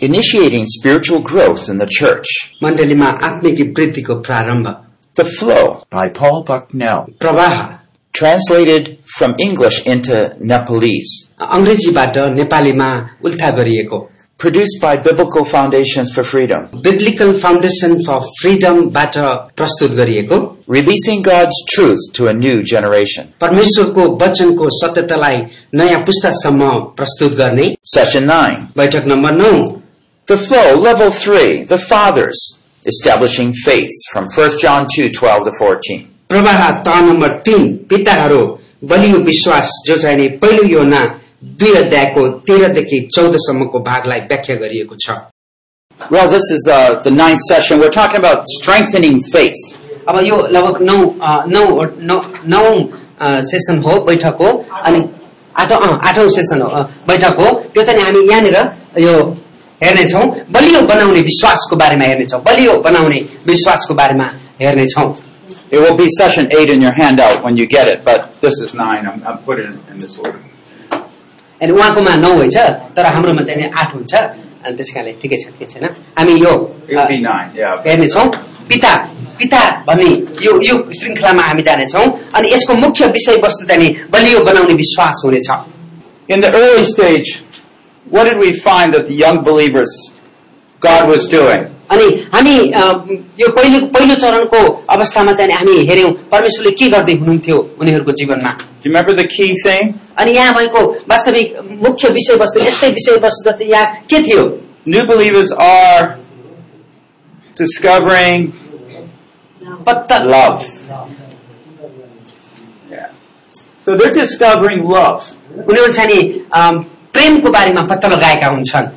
initiating spiritual growth in the church. मण्डलीमा आत्मिक वृद्धिको प्रारम्भ The Flow, by Paul Bucknell. प्रवाह translated from English into Nepalese, अङ्ग्रेजीबाट नेपालीमा उल्था गरिएको produced by Biblical Foundations for Freedom, biblical foundation for फ्रिडमबाट प्रस्तुत गरिएको releasing God's truth to a new generation. परमेश्वरको वचनको सत्यतालाई नयाँ पुस्तासम्म प्रस्तुत गर्ने Session 9. बैठक नम्बर नौ The Flow, Level 3, The Fathers, establishing faith from 1 John 2, 12 to 14. प्रवाह तह नम्बर तीन पिताहरू बलियो विश्वास जो चाहिने पहिलो योना दुई अध्यायको तेह्रदेखि चौधसम्मको भागलाई व्याख्या गरिएको छ Well, this is uh, the ninth session. We're talking about strengthening faith. अब यो लगभग नौ अ, नौ नौ नौ अ, सेसन हो बैठक हो अनि आठौँ अँ, आठौँ सेसन हो अ, बैठक हो त्यो चाहिँ हामी यहाँनिर यो हेर्नेछौँ बलियो बनाउने विश्वासको बारेमा हेर्नेछौँ बलियो बनाउने विश्वासको बारेमा हेर्नेछौँ It will be session 8 in your handout when you get it, but This is nine. I'm, I'm putting it in this order. अनि उहाँकोमा नौ हुन्छ तर हाम्रोमा चाहिँ नि आठ हुन्छ अनि त्यस कारणले ठिकै छ के छैन हामी यो It would Uh, be nine. Yeah. हेर्नेछौ पिता पिता भन्ने यो यो श्रृङ्खलामा हामी जानेछौँ अनि यसको मुख्य विषयवस्तु चाहिँ नि बलियो बनाउने विश्वास हुनेछ In the early stage, what did we find that the young believers, God was doing? अनि हामी अ, यो पहिलो पहिलो चरणको अवस्थामा चाहिँ नि हामी हेऱ्यौँ परमेश्वरले के गर्दै हुनुहुन्थ्यो उनीहरूको जीवनमा Do you remember the key thing? अनि यहाँ भएको वास्तविक मुख्य विषयवस्तु यस्तै विषयवस्तु जस्तै यहाँ के थियो New believers are discovering पत्ता love. Yeah. So they're discovering love. उनीहरू चाहिँ नि अम, प्रेमको बारेमा पत्ता लगाएका हुन्छन्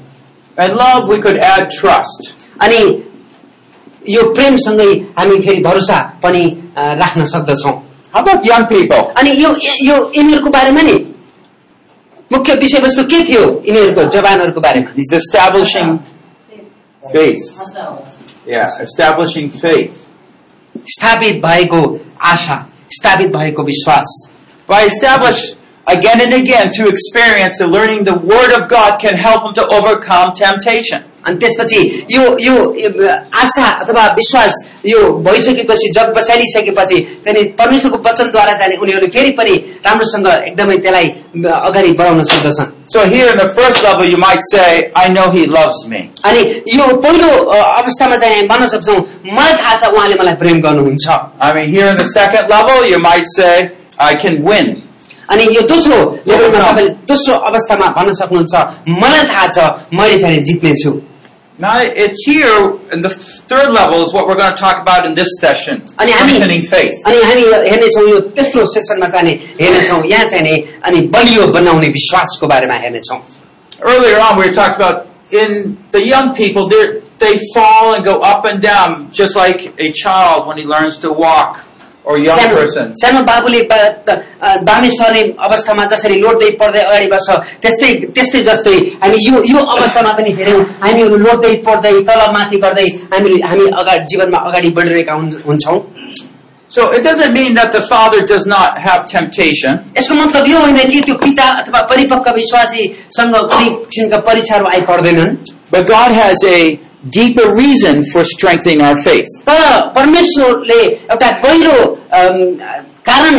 And love, we could add trust. अनि यो प्रेमसँगै हामी फेरि भरोसा पनि अ, राख्न सक्दछौ How about young people? अनि यो यो यिनीहरूको बारेमा नि मुख्य विषयवस्तु के थियो यिनीहरूको जवानहरूको बारेमा He's establishing faith. Yeah. Establishing faith. स्थापित भएको आशा स्थापित भएको विश्वास By establish again and again through experience and learning the Word of God can help them to overcome temptation. अनि त्यसपछि यो यो यो आशा अथवा विश्वास यो भइसकेपछि जग बसालिसकेपछि त्यहाँदेखि परमेश्वरको वचनद्वारा जाने उनीहरूले फेरि पनि राम्रोसँग एकदमै त्यसलाई अ, अगाडि बढाउन सक्दछन् So here in the first level, you might say, I know He loves me. अनि यो पहिलो अ, अवस्थामा चाहिँ हामी भन्न सक्छौ मलाई थाहा छ उहाँले मलाई प्रेम गर्नुहुन्छ I mean, here in the second level, you might say, I can win. अनि यो दोस्रो लेभलमा तपाईँले दोस्रो अवस्थामा भन्न सक्नुहुन्छ मलाई थाहा छ मैले चाहिँ जित्नेछु Now, it's here, and the third level is what we're going to talk about in this session. अनि हामी Strengthening faith. अनि हामी यो हेर्नेछौँ यो तेस्रो सेसनमा चाहिँ नि हेर्नेछौँ यहाँ चाहिँ नि अनि बलियो बनाउने विश्वासको बारेमा हेर्नेछौं Earlier on, we were talking about in the young people, they're- they fall and go up and down, just like a child when he learns to walk, or a young सानो person. सानो बाबुले बा- अ, बामे सर्ने अवस्थामा जसरी लोड्दै पढ्दै अगाडि बढ्छ त्यस्तै त्यस्तै जस्तै हामी यो यो अवस्थामा पनि हेऱ्यौँ हामीहरू लोड्दै पढ्दै तल माथि गर्दै हामी हामी अगाडि जीवनमा अगाडि बढिरहेका हुन्- हुन्छौं So it doesn't mean that the father does not have temptation, यसको मतलब यो होइन कि त्यो पिता अथवा परिपक्व विश्वासीसँग कुनै किसिमका परीक्षाहरू आइपर्दैनन् But God has a deeper reason for strengthening our faith. तर परमेश्वरले एउटा गहिरो अम, कारण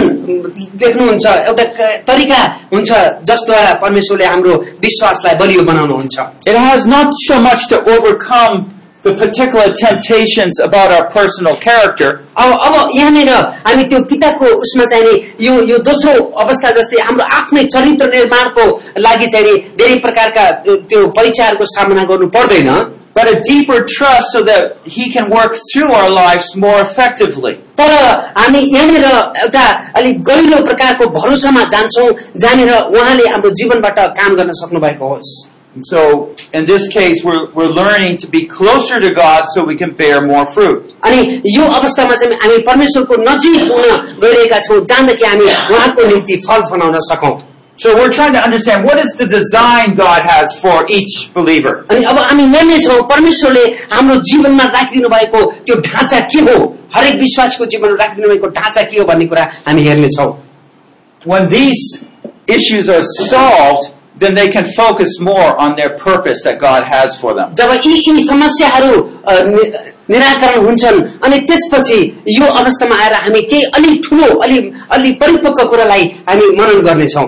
देख्नुहुन्छ एउटा क- तरिका हुन्छ जसद्वारा परमेश्वरले हाम्रो विश्वासलाई बलियो बनाउनुहुन्छ it has not so much to overcome the particular temptations about our personal character, अब अब यहाँनिर हामी त्यो पिताको उसमा चाहिँ नि यो यो दोस्रो अवस्था जस्तै हाम्रो आफ्नै चरित्र निर्माणको लागि चाहिँ नि धेरै प्रकारका त्यो परीक्षाहरूको सामना गर्नु पर्दैन but a deeper trust so that he can work through our lives more effectively. तर हामी यहाँनिर एउटा अलिक गहिरो प्रकारको भरोसामा जान्छौँ जहाँनिर उहाँले हाम्रो जीवनबाट काम गर्न सक्नु भएको होस् And So in this case, we're, we're learning to be closer to God so we can bear more fruit. अनि यो अवस्थामा चाहिँ हामी परमेश्वरको नजिक हुन गइरहेका छौँ जहाँदेखि हामी उहाँको निम्ति फल फलाउन सकौँ So we're trying to understand what is the design God has for each believer. अनि अब हामी हेर्ने छौँ परमेश्वरले हाम्रो जीवनमा राखिदिनु भएको त्यो ढाँचा के हो हरेक विश्वासको जीवनमा राखिदिनु भएको ढाँचा के हो भन्ने कुरा हामी हेर्नेछौँ When these issues are solved, then they can focus more on their purpose that God has for them. जब यी यी समस्याहरू अ, नि- निराकरण हुन्छन् अनि त्यसपछि यो अवस्थामा आएर हामी केही अलि ठुलो अलि अलि परिपक्व कुरालाई हामी मनन गर्नेछौँ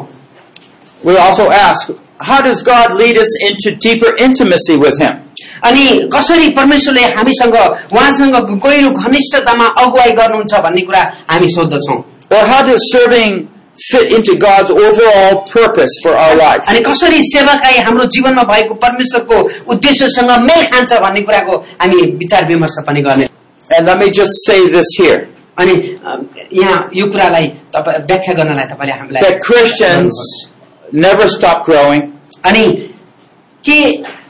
We also ask, how does God lead us into deeper intimacy with Him? अनि कसरी परमेश्वरले हामीसँग उहाँसँग गहिरो घनिष्ठतामा अगुवाई गर्नुहुन्छ भन्ने कुरा हामी सोद्धछौं Or how does serving fit into God's overall purpose for our life? अनि कसरी सेवाकाई हाम्रो जीवनमा भएको परमेश्वरको उद्देश्यसँग मेल खान्छ भन्ने कुराको हामी विचार विमर्श पनि गर्ने And let me just say this here अनि अ, यहाँ यो कुरालाई तपाईँ व्याख्या गर्नलाई तपाईँले हामीलाई that Christians never stop growing, अनि के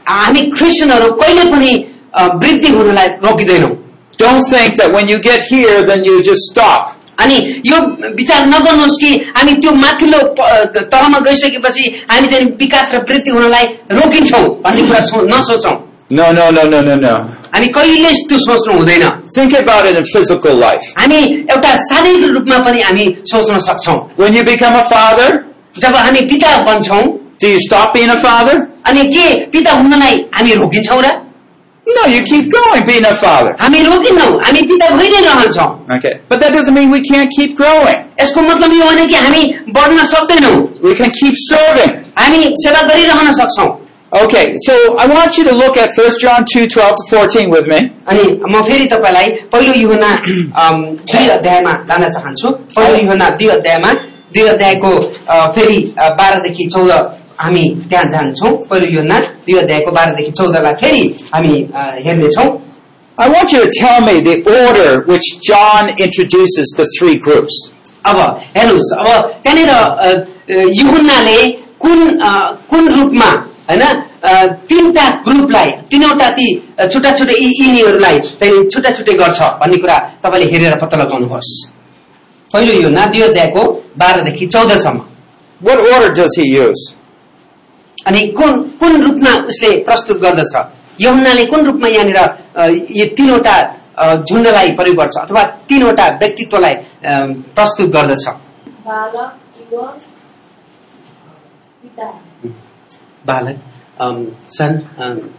हामी क्रिस्चियनहरू कहिले पनि अ, वृद्धि हुनलाई रोकिँदैनौँ Don't think that when you get here, then you just stop. अनि यो विचार नगर्नुहोस् कि हामी त्यो माथिल्लो प- तहमा गइसकेपछि हामी चाहिँ विकास र वृद्धि हुनलाई रोकिन्छौँ भन्ने कुरा सो- नसोचौँ No, no, no, no, no, no. हामी कहिले त्यो सोच्नु हुँदैन Think about it in physical life. हामी एउटा शारीरिक रूपमा पनि हामी सोच्न सक्छौँ When you become a father, जब हामी पिता बन्छौँ do you stop being a father? अनि के पिता हुनलाई हामी रोकिन्छौँ र No, you keep going being a father. हामी रोकिन्नौ हामी पिता भइ नै रहन्छौँ Okay. But that doesn't mean we can't keep growing. यसको मतलब यो होइन कि हामी बढ्न सक्दैनौँ We can keep serving. हामी सेवा गरिरहन सक्छौँ Okay, so I want you to look at 1 John 2, 12 to 14 with me. अनि म फेरि तपाईँलाई पहिलो युहना अम, दुई अध्यायमा लान चाहन्छु पहिलो युहना दुई अध्यायमा दुई अध्यायको अ, फेरि अ, बाह्रदेखि चौध हामी त्यहाँ जान्छौँ पहिलो युहना दुई अध्यायको बाह्रदेखि चौधलाई फेरि हामी अ, हेर्नेछौँ I want you to tell me the order which John introduces the three groups. अब हेर्नुहोस् अब त्यहाँनिर अ, अ, युहन्नाले कुन अ, कुन रूपमा होइन अ, तिनवटा ग्रुपलाई तिनवटा ती अ, छुट्टा छुट्टै यी यिनीहरूलाई चाहिँ छुट्टा छुट्टै गर्छ भन्ने कुरा तपाईँले हेरेर पत्ता लगाउनुहोस् पहिलो यो ना दुई अध्यायको बाह्रदेखि चौधसम्म What order does he use? अनि कुन कुन रूपमा उसले प्रस्तुत गर्दछ यहुन्नाले कुन रूपमा यहाँनिर अ, यी तिनवटा अ, झुण्डलाई प्रयोग गर्छ अथवा तिनवटा व्यक्तित्वलाई अ, प्रस्तुत गर्दछ बालक युवक पिता बालक um, son, um,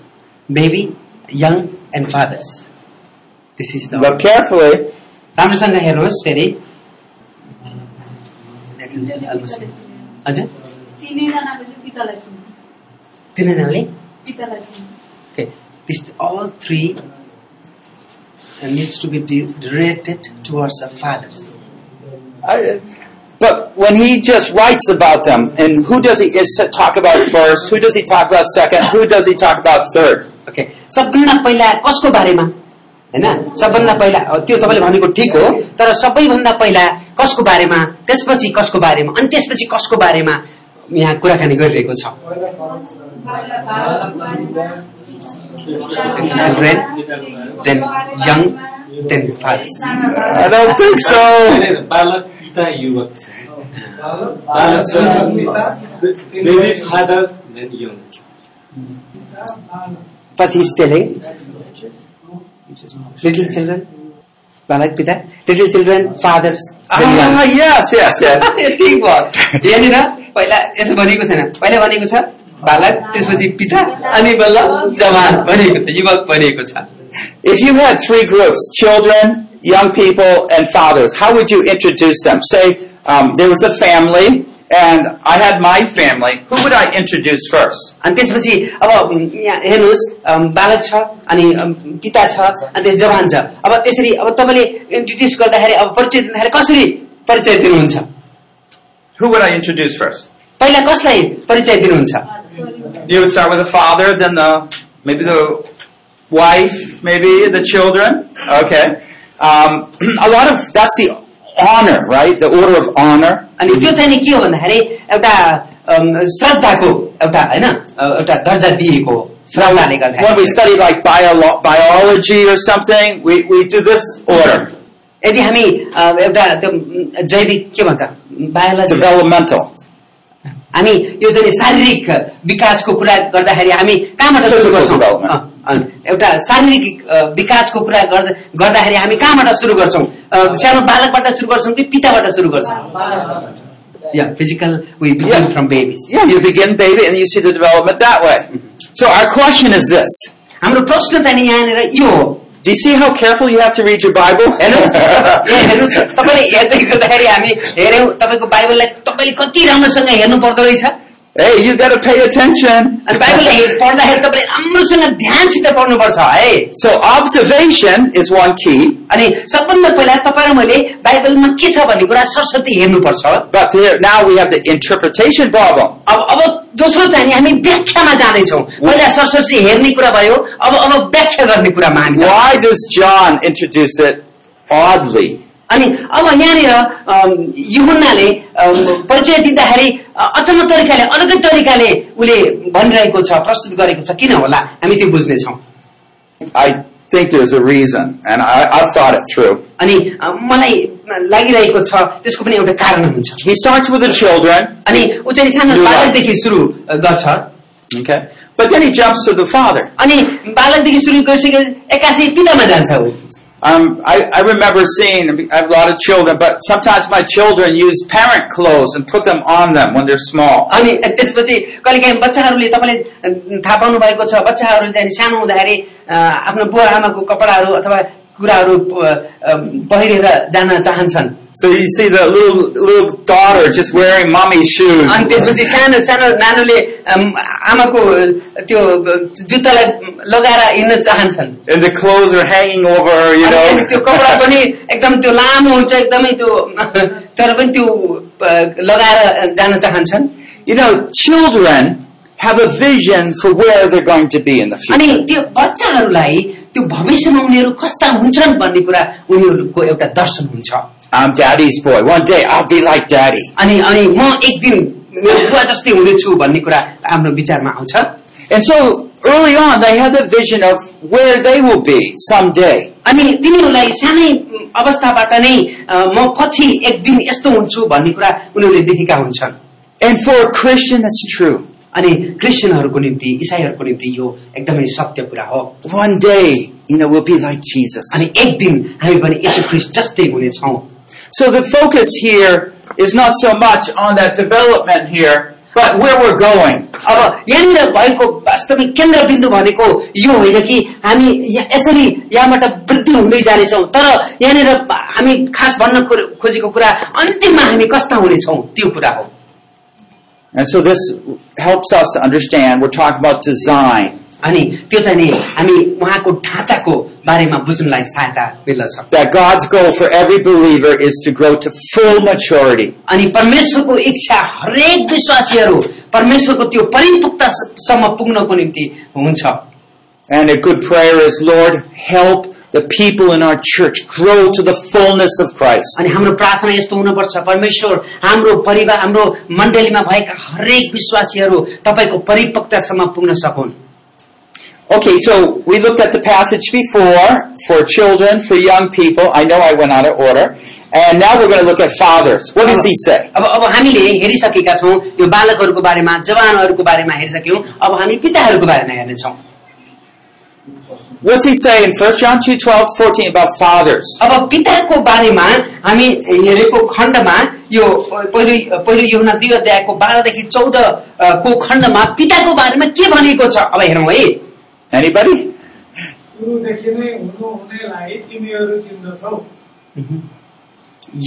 baby, young and fathers. This is the Look carefully. राम्रोसँग हेर्नुहोस् फेरि तिनैजनाले पितालाई चिन्छ। हजुर तिनैजनाले चाहिँ पितालाई चिन्छ तिनैजनाले पितालाई चिन्छ this all three uh, needs to be di- directed towards the fathers. I, but when he just writes about them, and who does he is, talk about first? Who does he talk about second? Who does he talk about third? Okay सबभन्दा पहिला कसको बारेमा होइन सबभन्दा पहिला अ, त्यो तपाईँले भनेको ठिक हो तर सबैभन्दा पहिला कसको बारेमा त्यसपछि कसको बारेमा अनि त्यसपछि कसको बारेमा यहाँ कुराकानी गरिरहेको छ children, then young, then fathers. I don't think so. होइन, बालक पिता युवक छ बालक छ बेबी फादर देन यङ पछि स्टेलिङ लिटल चिल्ड्रेन बालक पिता little children fathers Ah, yes, yes, yes. ठिक भयो यहाँनिर पहिला यसो भनेको छैन पहिला भनेको छ बालक त्यसपछि पिता अनि बल्ल जवान भनिएको छ युवक भनिएको छ If you had three groups, children, young people, and fathers, how would you introduce them? Say, um, there was a family, and I had my family. Who would I introduce first? अनि त्यसपछि अब उम्, यहाँ हेर्नुहोस् अम, बालक छ अनि अम, पिता छ अनि त्यस जवान छ अब त्यसरी अब तपाईँले इन्ट्रोड्युस गर्दाखेरि अब परिचय दिँदाखेरि कसरी परिचय दिनुहुन्छ Who would I introduce first? पहिला कसलाई परिचय दिनुहुन्छ You would start with the father, then the maybe the wife, maybe the children. Okay. Um, a lot of that's the honor, right? The order of honor. अनि त्यो चाहिँ नि के हो भन्दाखेरि एउटा अम, श्रद्धाको एउटा होइन अ, एउटा दर्जा दिएको हो श्रद्धाले When we गर्दा study like bio- biology or something, we, we do this order, यदि हामी अ, एउटा त्यो उम्, जैविक के भन्छ बायोलोजी developmental. हामी यो चाहिँ शारीरिक विकासको कुरा गर्दाखेरि हामी कहाँबाट सुरु Physical गर्छौँ development. अँ, अँ, एउटा शारीरिक अ, विकासको कुरा गर्दा- गर्दाखेरि हामी कहाँबाट सुरु गर्छौँ अ, सानो बालकबाट सुरु गर्छौँ कि पिताबाट सुरु गर्छौँ yeah, physical, we begin Yeah. from babies. Yeah, you begin baby and you see the development that way. So our question is this. हाम्रो प्रश्न चाहिँ नि यहाँनिर यो हो Do you see how careful you have to read your Bible? हेर्नुहोस् ए, हेर्नुहोस् तपाईँले हेर्दै गर्दाखेरि हामी हेऱ्यौँ तपाईँको बाइबललाई तपाईँले कति राम्रोसँग हेर्नु पर्दो रहेछ अनि hey, you gotta pay attention. Bible हे- पढ्दाखेरि तपाईँले राम्रोसँग ध्यानसित पढ्नुपर्छ है So observation is one key, अनि सबभन्दा पहिला तपाईँ र मैले बाइबलमा के छ भन्ने कुरा सरस्वती हेर्नुपर्छ but there, now we have the interpretation problem. अब अब दोस्रो चाहिँ नि हामी व्याख्यामा जानेछौँ पहिला सरस्वती हेर्ने कुरा भयो अब अब व्याख्या गर्ने कुरामा हामी जान्छौँ। Why does John introduce it oddly? अनि अब यहाँनिर अम, युहन्नाले अम, परिचय दिँदाखेरि अ, अचम्म तरिकाले अर्कै तरिकाले उसले भनिरहेको छ प्रस्तुत गरेको छ किन होला हामी त्यो बुझ्नेछौँ I think there's a reason, and I, I've thought it through. अनि अ, मलाई लागिरहेको छ त्यसको पनि एउटा कारण हुन्छ He starts with the children, अनि ऊ चाहिँ सानो लुगा। बालकदेखि सुरु अ, गर्छ okay, but then he jumps to the father. अनि बालकदेखि सुरु गरिसके एक्कासी पितामा जान्छ ऊ Um, I, I remember seeing, I have a lot of children, but sometimes my children use parent clothes and put them on them when they're small. अनि त्यसपछि कहिलेकाहीँ बच्चाहरूले तपाईँले अ, थाहा पाउनु भएको छ बच्चाहरू चाहिँ सानो हुँदाखेरि अ, आफ्नो बुवा आमाको कपडाहरू अथवा कुराहरू अ, अ, पहिरेर जान चाहन्छन् So you see the little, little daughter just wearing mommy's shoes. अनि त्यसपछि सानो सानो नानोले अम, आमाको त्यो जुत्तालाई लगाएर हिँड्न चाहन्छन् And the clothes are hanging over her, you अनि अनि त्यो कपडा know. पनि एकदम त्यो लामो हुन्छ एकदमै त्यो तर पनि त्यो अ, लगाएर जान चाहन्छन् you know, children have a vision for where they're going to be in the अनि future. त्यो बच्चाहरूलाई त्यो भविष्यमा उनीहरू कस्ता हुन्छन् भन्ने कुरा उनीहरूको एउटा दर्शन हुन्छ I'm daddy's boy. One day I'll be like daddy. अनि अनि म एक दिन मेरो बुवा जस्तै हुनेछु भन्ने कुरा हाम्रो विचारमा आउँछ And so early on they have the vision of where they will be someday. अनि तिनीहरूलाई सानै अवस्थाबाट नै अ, म पछि एक दिन यस्तो हुन्छु भन्ने कुरा उनीहरूले देखेका हुन्छन् And for a Christian that's true. अनि क्रिस्चियनहरूको निम्ति इसाईहरूको निम्ति यो एकदमै सत्य कुरा हो One day, you know, we'll be like Jesus. अनि एक दिन हामी पनि यसो ख्रिस्ट जस्तै हुनेछौँ So the focus here is not so much on that development here, but where we're going. अब यहाँनिर भएको वास्तविक केन्द्रबिन्दु भनेको यो होइन कि हामी या- यसरी यहाँबाट वृद्धि हुँदै जानेछौँ तर यहाँनिर हामी खास भन्न खो- खोजेको कुरा अन्तिममा हामी कस्ता हुनेछौँ त्यो कुरा हो And so this helps us to understand we're talking about design. अनि त्यो चाहिँ नि हामी उहाँको ढाँचाको बारेमा बुझ्नलाई सहायता मिल्दछ That God's goal for every believer is to grow to full maturity. अनि परमेश्वरको इच्छा हरेक विश्वासीहरू परमेश्वरको त्यो परिपक्वतासम्म पुग्नको निम्ति हुन्छ And a good prayer is, Lord, help the people in our church grow to the fullness of Christ. अनि हाम्रो प्रार्थना यस्तो हुनुपर्छ परमेश्वर हाम्रो परिवार हाम्रो मण्डलीमा भएका हरेक विश्वासीहरू तपाईँको परिपक्वतासम्म पुग्न सकुन् Okay, so we looked at the passage before for children, for young people. I know I went out of order. And now we're going to look at fathers. What does he say? अब अब हामीले हेरिसकेका छौँ यो बालकहरूको बारेमा जवानहरूको बारेमा हेरिसक्यौँ अब हामी पिताहरूको बारेमा हेर्नेछौँ What's he say in 1 John 2, 12, 14 about fathers? अब पिताको बारेमा हामी हेरेको खण्डमा यो पहिलो पहिलो योहुना दुई अध्यायको बाह्रदेखि चौध अ, को खण्डमा पिताको बारेमा के भनिएको छ अब हेरौँ है Anybody? सुरुदेखि नै हुनुहुनेलाई तिमीहरू चिन्दछौ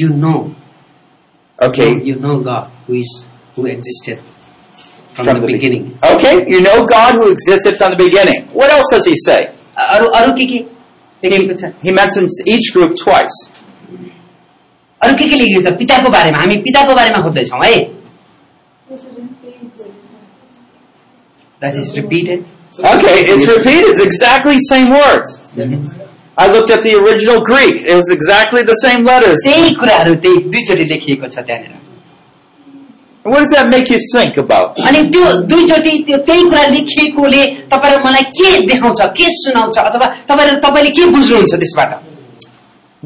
you know Okay. You know God who existed from the be- beginning Okay, you know God who existed from the beginning. What else does he say? अरू अरू के के लेखिएको छ He mentions each group twice. अरू के के लेखिएको छ पिताको बारेमा हामी पिताको बारेमा खोज्दैछौँ है that is repeated Okay, it's repeated. It's exactly the same words. I looked at the original Greek. It was exactly the same letters. त्यही कुराहरू त्यही दुईचोटि लेखिएको छ त्यहाँनिर What does that make you think about? अनि त्यो दुईचोटि त्यो त्यही कुरा लेखिएकोले तपाईँ र मलाई के देखाउँछ के सुनाउँछ अथवा तपाईँ र- तपाईँले के बुझ्नुहुन्छ त्यसबाट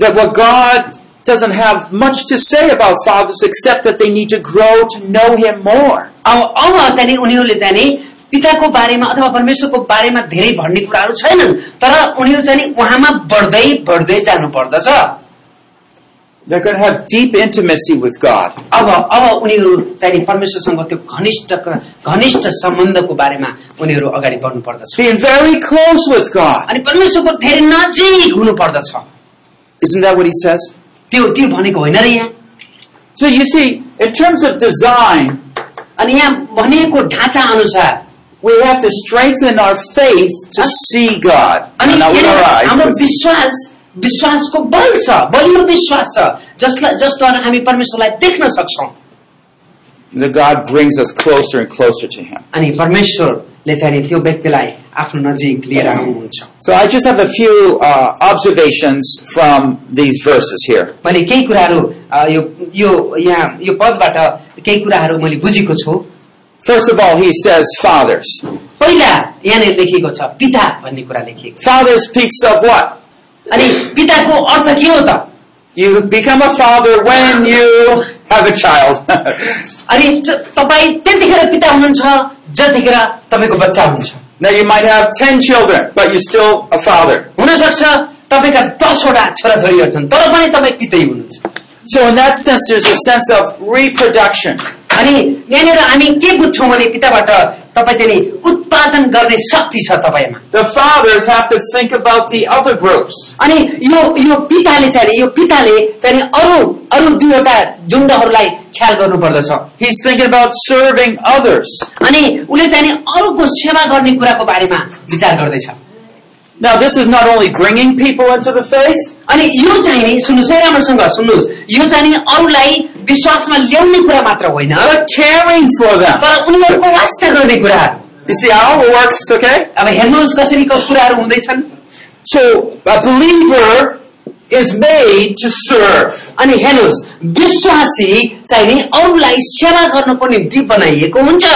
That what God doesn't have much to say about fathers except that they need to grow to know Him more. अब अब चाहिँ नि उनीहरूले चाहिँ नि पिताको बारेमा अथवा परमेश्वरको बारेमा धेरै भन्ने कुराहरू छैनन् तर उनीहरू चाहिँ नि उहाँमा बढ्दै बढ्दै जानु पर्दछ They're going to have deep intimacy with God. अब अब उनीहरू चाहिँ परमेश्वरसँग त्यो घनिष्ठ घनिष्ठ सम्बन्धको बारेमा उनीहरू अगाडि बढ्नु पर्दछ Being very close with God. अनि परमेश्वरको धेरै नजिक हुनु पर्दछ Isn't that what he says? त्यो त्यो भनेको होइन र यहाँ So you see, in terms of design, अनि यहाँ भनेको ढाँचा अनुसार we have to strengthen our faith to see God. अनि Not with our यहाँ eyes, हाम्रो but- विश्वास विश्वासको बल छ बलियो विश्वास छ जसलाई जसद्वारा हामी परमेश्वरलाई देख्न सक्छौं that God brings us closer and closer to Him. अनि परमेश्वरले चाहिँ नि त्यो व्यक्तिलाई आफ्नो नजिक लिएर आउनुहुन्छ So I just have a few uh, observations from these verses here. मैले केही कुराहरू अ, यो यो यहाँ यो पदबाट केही कुराहरू मैले बुझेको छु First of all, he says, fathers. पहिला यहाँनिर लेखिएको छ पिता भन्ने कुरा लेखिएको छ। Father speaks of what? अनि पिताको अर्थ के हो त You become a father when you have a child. अनि ज- तपाईँ त्यतिखेर पिता हुनुहुन्छ जतिखेर तपाईँको बच्चा हुन्छ now you might have 10 children, but you're still a father. हुनसक्छ तपाईँका दसवटा छोराछोरीहरू छन् तर पनि तपाईँ पितै हुनुहुन्छ So in that sense, there's a sense of reproduction. अनि यहाँनिर हामी के बुझ्छौँ भने पिताबाट तपाईँ चाहिँ नि उत्पादन गर्ने शक्ति छ तपाईँमा The fathers have to think about the other groups. अनि यो यो पिताले चाहिँ नि- यो पिताले चाहिँ नि अरू अरू दुईवटा झुण्डहरूलाई ख्याल गर्नुपर्दछ He's thinking about serving others. अनि उसले चाहिँ नि अरूको सेवा गर्ने कुराको बारेमा विचार गर्दैछ Now this is not only bringing people into the faith, अनि यो चाहिँ नि सुन्नुहोस् है राम्रोसँग सुन्नुहोस् यो चाहिँ नि अरूलाई विश्वासमा ल्याउने कुरा मात्र होइन but caring for them. तर उनीहरूको वास्ता गर्ने कुराहरू You see how it works, okay? अब हेर्नुहोस् कसरी क- कुराहरू हुँदैछन् So a believer is made to serve. अनि हेर्नुहोस् विश्वासी चाहिँ नि अरूलाई सेवा गर्नको निम्ति बनाइएको हुन्छ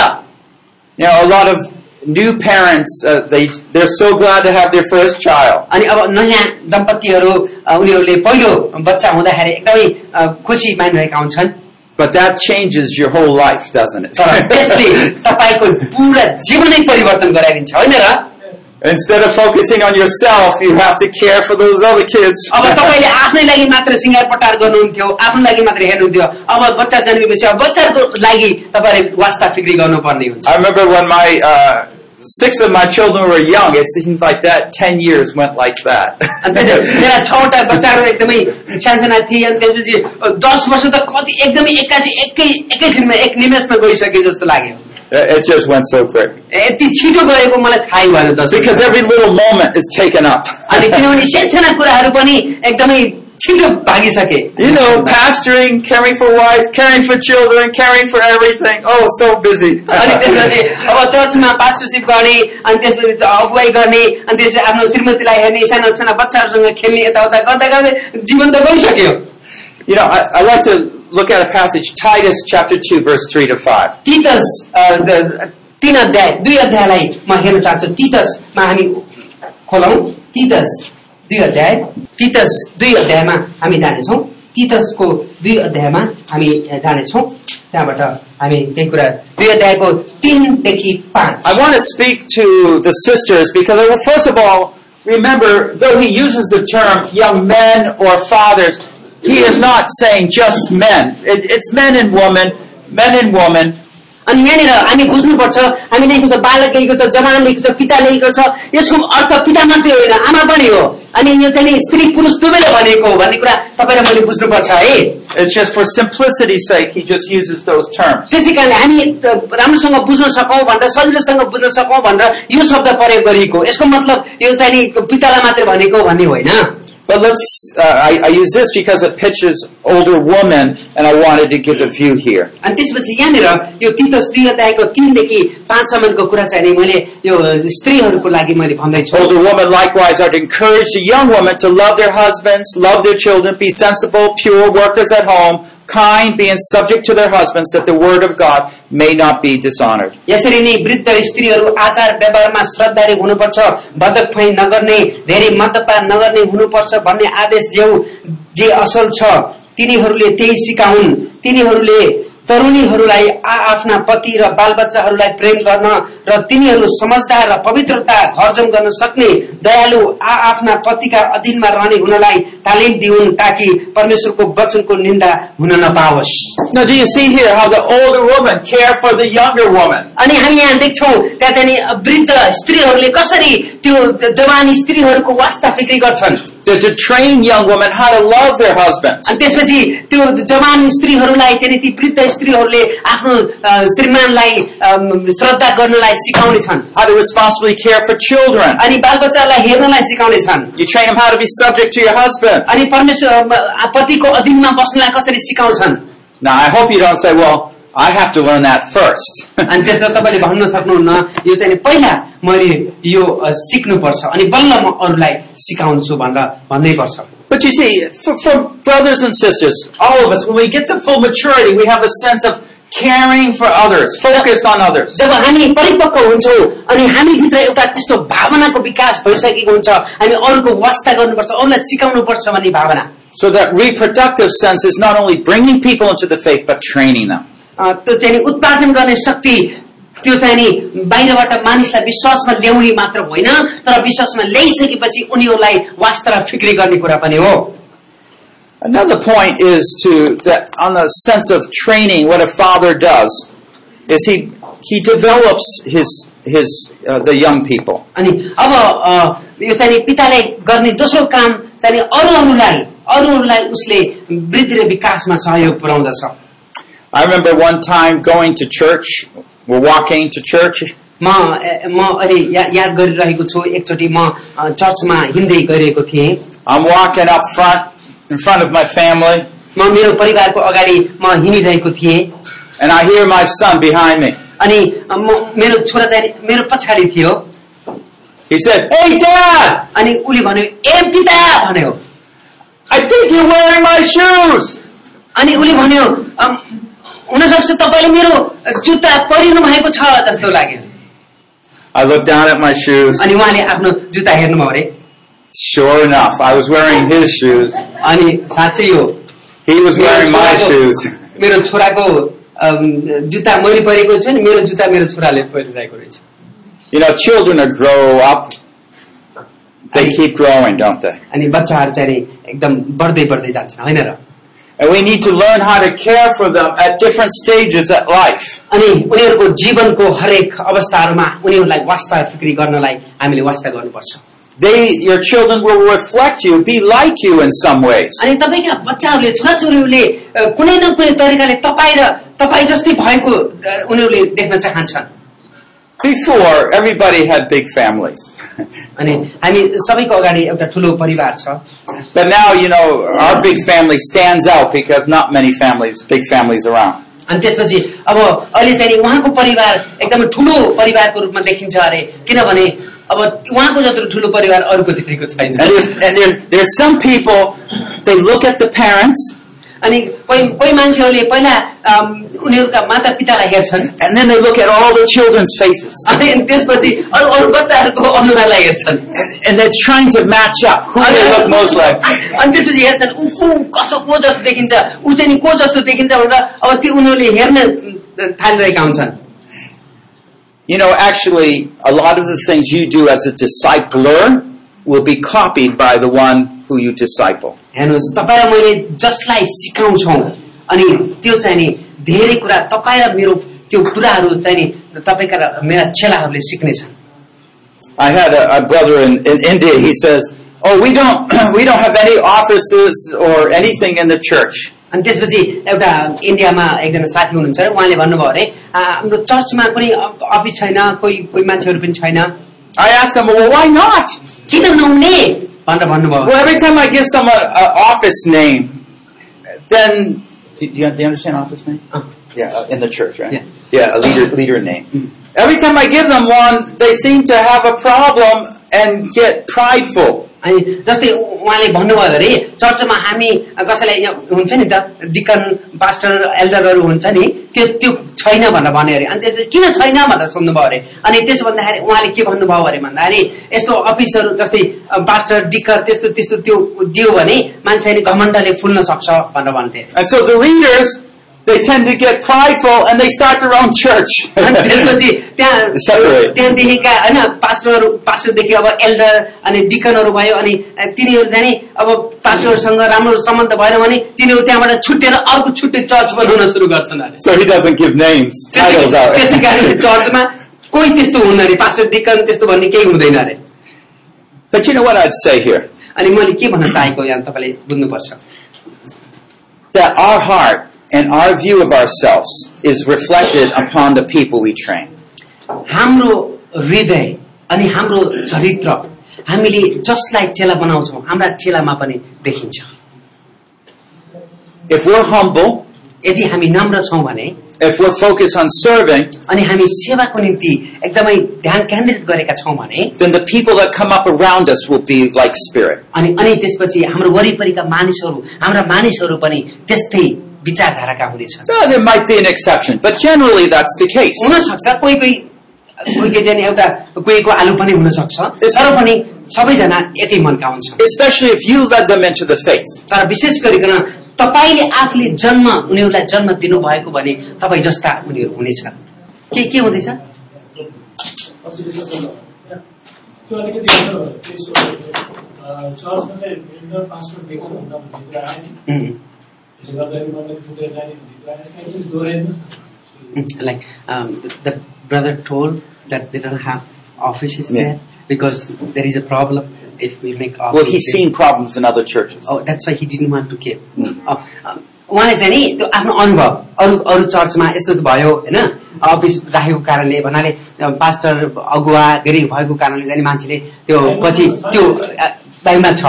You know, a lot of new parents uh, they they're so glad to have their first child. अनि अब नयाँ दम्पतिहरू अ, उनीहरूले पहिलो बच्चा हुँदाखेरि एकदमै अ, खुसी मानिरहेका हुन्छन् But that changes your whole life, doesn't तर त्यसले it? तपाईँको पुरा जीवनै परिवर्तन गराइदिन्छ होइन र Instead of focusing on yourself, you have to care for those other kids. अब तपाईँले आफ्नै लागि मात्र सिँगार पटार गर्नुहुन्थ्यो आफ्नो लागि मात्र हेर्नुहुन्थ्यो अब बच्चा जन्मेपछि अब बच्चाको लागि तपाईँले वास्ता फिक्री गर्नुपर्ने हुन्छ I remember when my uh, six of my children were young. It seemed like that ten years went like that. अनि त्यहाँ मेरा छवटा बच्चाहरू एकदमै सानसाना थिए अनि त्यसपछि दस वर्ष त कति एकदमै एक्कासी एकै एकैछिनमा एक निमेषमा गइसके जस्तो लाग्यो it just went so quick यति छिटो गएको मलाई थाहै भएन दस because every little moment is taken up. अनि किनभने सानसाना कुराहरू पनि एकदमै छिटो भागिसके You know, pastoring, caring for wife, caring for children, caring for everything. Oh, so busy. अनि त्यसपछि अब चर्चमा पास्टरसिप गर्ने अनि त्यसपछि अगुवाई गर्ने अनि त्यसपछि आफ्नो श्रीमतीलाई हेर्ने साना साना बच्चाहरूसँग खेल्ने यताउता गर्दा गर्दै जीवन त गइसक्यो You know, I, I like to look at a passage, Titus chapter 2, verse 3 to 5. Titus अ, द- तीन अध्याय दुई अध्यायलाई म हेर्न चाहन्छु तितसमा हामी खोलौँ तितस दुई अध्याय तितस दुई अध्यायमा हामी जानेछौँ तितसको दुई अध्यायमा हामी जानेछौँ त्यहाँबाट हामी केही कुरा दुई अध्यायको तिनदेखि पाँच I want to speak to the sisters because, well, first of all, remember, though he uses the term young men or fathers, he is not saying just men. It, it's men and women, men and women. अनि यहाँनिर हामी बुझ्नुपर्छ हामी लेखेको छ बालक लेखेको छ जवान लेखेको छ पिता लेखेको छ यसको अर्थ पिता मात्रै होइन आमा पनि हो अनि यो चाहिँ नि स्त्री पुरुष दुवैले भनेको हो भन्ने कुरा तपाईँ र मैले बुझ्नुपर्छ है It's just for simplicity's sake, he just uses those terms. त्यसै कारणले हामी त राम्रोसँग बुझ्न सकौँ भनेर सजिलोसँग बुझ्न सकौँ भनेर यो शब्द प्रयोग गरिएको यसको मतलब यो चाहिँ नि पितालाई मात्रै भनेको भन्ने होइन But let's, uh, I, I use this because it pictures older women and I wanted to give a view here. अनि त्यसपछि यहाँनिर यो तितस दुई अध्यायको तिनदेखि पाँचसम्मको कुरा चाहिँ नि मैले यो स्त्रीहरूको लागि मैले भन्दैछु Older women likewise are to encourage the young women to love their husbands, love their children, be sensible, pure workers at home, kind, being subject to their husbands, that the word of God may not be dishonored. यसरी नै वृद्ध स्त्रीहरू आचार व्यवहारमा श्रद्धाले हुनुपर्छ बदकफाइ नगर्ने धेरै मदपान नगर्ने हुनुपर्छ भन्ने आदेश ज्यौ जे असल छ तिनीहरूले त्यही सिकाउन् तिनीहरूले तरुणीहरूलाई आ आफ्ना पति र बालबच्चाहरूलाई प्रेम गर्न र तिनीहरू समझदार र पवित्रता घरजम गर्न सक्ने दयालु आ आफ्ना पतिका अधीनमा रहने हुनलाई तालिम दिउन् ताकि परमेश्वरको वचनको निन्दा हुन नपाओस् Now, do you see here how the older woman cared for the younger woman? अनि हामी यहाँ देख्छौ त्यहाँ चाहिँ वृद्ध स्त्रीहरूले कसरी त्यो जवान स्त्रीहरूको वास्ता फिक्री गर्छन् They're to train young women how to love their husbands. अनि त्यसपछि त्यो जवान स्त्रीहरूलाई चाहिँ नि ती वृद्ध स्त्रीहरूले आफ्नो अ, श्रीमानलाई अम, श्रद्धा गर्नलाई सिकाउने छन् How to responsibly care for children. अनि बालबच्चाहरूलाई हेर्नलाई सिकाउने छन् You train them how to be subject to your husband. अनि परमेश्वर अ, पतिको अधीनमा बस्नलाई कसरी सिकाउँछन् Now, I hope you don't say, well, I have to learn that first. अनि त्यसमा तपाईँले भन्न सक्नुहुन्न यो चाहिँ नि पहिला मैले यो अ, सिक्नुपर्छ अनि बल्ल म अरूलाई सिकाउँछु भनेर भन्नै पर्छ But you see, for, for brothers and sisters, all of us, when we get to full maturity, we have a sense of caring for others, focused on others. जब हामी परिपक्व हुन्छौँ अनि हामीभित्र एउटा त्यस्तो भावनाको विकास भइसकेको हुन्छ हामी अरूको वास्ता गर्नुपर्छ अरूलाई सिकाउनु पर्छ भन्ने भावना So that reproductive sense is not only bringing people into the faith, but training them. अ, त्यो चाहिँ नि उत्पादन गर्ने शक्ति त्यो चाहिँ नि बाहिरबाट मानिसलाई विश्वासमा ल्याउने मात्र होइन तर विश्वासमा ल्याइसकेपछि उनीहरूलाई वास्ता र फिक्री गर्ने कुरा पनि हो Another point is to that on the sense of training, what a father does is he he develops his his uh, the young people. अनि अब अ, यो चाहिँ नि पिताले गर्ने दोस्रो काम चाहिँ नि अरू अरूलाई अरूहरूलाई उसले वृद्धि र विकासमा सहयोग पुर्याउँदछ I remember one time going to church, we're walking to church, म ए- म अहिले या- याद गरिरहेको छु एकचोटि म अ, चर्चमा हिँड्दै गइरहेको थिएँ I'm walking up front in front of my family, म मेरो परिवारको अगाडि म हिँडिरहेको थिएँ and I hear my son behind me. अनि अ, म मेरो छोरा चाहिँ मेरो पछाडि थियो He said, "Hey, Dad, अनि उसले भन्यो ए पिता भन्यो I think you're wearing my shoes." अनि उसले भन्यो "अम, हुनसक्छ तपाईँले मेरो जुत्ता परिनु भएको छ जस्तो लाग्यो I looked down at my shoes. अनि उहाँले आफ्नो जुत्ता हेर्नुभयो अरे Sure enough, I was wearing his shoes. अनि साँच्चै यो He was wearing my shoes. मेरो छोराको अम, जुत्ता मैले परेको छु नि मेरो जुत्ता मेरो छोराले परिरहेको रहेछ You know, children are grow up. They keep growing, don't they? अनि बच्चाहरू चाहिँ नि एकदम बढ्दै बढ्दै जान्छन् होइन र And we need to learn how to care for them at different stages at life. अनि उनीहरूको जीवनको हरेक अवस्थाहरूमा उनीहरूलाई वास्ता फिक्री गर्नलाई हामीले वास्ता गर्नुपर्छ They, your children will reflect you, be like you in some ways. अनि तपाईँका बच्चाहरूले छोराछोरीहरूले अ, कुनै न कुनै तरिकाले तपाईँ र तपाईँ जस्तै भएको अ, उनीहरूले देख्न चाहन्छन् Before, everybody had big families. अनि हामी सबैको अगाडि एउटा ठुलो परिवार छ But now, you know, our big family stands out because not many families, big families around. अनि त्यसपछि अब अहिले चाहिँ नि उहाँको परिवार एकदमै ठुलो परिवारको रूपमा देखिन्छ अरे किनभने अब उहाँको जत्रो ठुलो परिवार अरूको देखिएको छैन And there's, and there, there's some people, they look at the parents, अनि कोही कोही मान्छेहरूले पहिला अम, उनीहरूका माता पितालाई हेर्छन् and then they look at all the children's faces. अनि त्यसपछि अरू अरू बच्चाहरूको अनुहारलाई हेर्छन् And they're trying to match up who they look most like. अनि त्यसपछि हेर्छन् ऊ को कसो को जस्तो देखिन्छ ऊ चाहिँ नि को जस्तो देखिन्छ भनेर अब त्यो उनीहरूले हेर्न थालिरहेका हुन्छन् You know, actually, a lot of the things you do as a discipler will be copied by the one who you disciple. हेर्नुहोस् तपाईँ र मैले जसलाई सिकाउँछौ अनि त्यो चाहिँ नि धेरै कुरा तपाईँ र मेरो त्यो कुराहरू चाहिँ नि तपाईँका र मेरा चेलाहरूले सिक्नेछन् I had a, a brother in, in India. He says, "Oh, we don't we don't have any offices or anything in the church. अनि त्यसपछि एउटा इन्डियामा एकजना साथी हुनुहुन्छ उहाँले भन्नुभयो अरे "आ, हाम्रो चर्चमा पनि अ- अफिस छैन कोही कोही मान्छेहरू पनि छैन I asked him, "Well, why not? किन नहुने भनेर भन्नुभयो Well, every time I give someone an office name, then do you, do you understand office name? Uh, Yeah, Mm. uh, in the church, right? Yeah. a leader leader name. Every time I give them one, they seem to have a problem and get prideful." अनि जस्तै उ- उहाँले भन्नुभयो अरे चर्चमा हामी कसैलाई यहाँ हुन्छ नि त डिकन पास्टर एल्डरहरू हुन्छ नि त्यो त्यो छैन भनेर भन्यो अरे अनि त्यसपछि किन छैन भनेर सोध्नुभयो अरे अनि त्यसो भन्दाखेरि उहाँले के भन्नुभयो अरे भन्दाखेरि यस्तो अफिसहरू जस्तै अ, पास्टर डिकर त्यस्तो त्यस्तो त्यो दियो भने मान्छेले घमण्डले फुल्न सक्छ भनेर भन्थे And so the leaders they tend to get prideful and they start their own church. अनि त्यसपछि त्यहाँ Separate. त्यहाँदेखिका होइन पास्टरहरू पास्टरदेखि अब एल्डर अनि डिकनहरू भयो अनि तिनीहरू जाने अब पास्टरहरूसँग राम्रो सम्बन्ध भएन भने तिनीहरू त्यहाँबाट छुट्टिएर अर्को छुट्टै चर्च बनाउन सुरु गर्छन् अरे so he doesn't give names, titles त्यसै त्यसै कारणले out. चर्चमा कोही त्यस्तो हुन्न अरे पास्टर डिकन त्यस्तो भन्ने केही हुँदैन अरे but you know what I'd say here? अनि मैले के भन्न चाहेको यहाँ तपाईँले बुझ्नुपर्छ That our heart and our view of ourselves is reflected upon the people we train. हाम्रो हृदय अनि हाम्रो चरित्र हामीले जसलाई चेला बनाउँछौँ हाम्रा चेलामा पनि देखिन्छ If we're humble, यदि हामी नम्र छौँ भने if we're focused on serving, अनि हामी सेवाको निम्ति एकदमै ध्यान केन्द्रित गरेका छौँ भने then the people that come up around us will be like spirit. अनि अनि त्यसपछि हाम्रो वरिपरिका मानिसहरू हाम्रा मानिसहरू पनि त्यस्तै विचारधाराका हुनेछन् Now, there might be an exception, but generally that's the case. हुन सक्छ कोही कोही कोही कोही जाने एउटा कोहीको आलु पनि हुन सक्छ तर पनि सबैजना एकै मनका हुन्छन् Especially if you led them into the faith. तर विशेष गरिकन तपाईँले आफूले जन्म उनीहरूलाई जन्म दिनुभएको भने तपाईँ जस्ता उनीहरू हुनेछन् के के हुँदैछ त्यो अलिकति मेरो त्यसो अ, चर्चमा चाहिँ भेन्डर पासवर्ड दिएको भन्दा भन्ने कुरा आयो नि उम्, त्यसो गर्दाखेरि मतलब छुटेर जाने भन्ने कुरा आयो। यसलाई अलिकति दोहोऱ्याइदिनु न। Mm, like um, the brother told that they don't have offices Yeah. there because there is a problem if we make Well, offices. he's seen problems in other churches. Oh, that's why he didn't want to give. Mm. Oh, um, उहाँले चाहिँ नि त्यो आफ्नो अनुभव अरू अरू चर्चमा यस्तो त भयो होइन अफिस राखेको कारणले भन्नाले अ, पास्टर अगुवा धेरै भएको कारणले चाहिँ नि मान्छेले त्यो पछि त्यो अ, बाइबलमा छ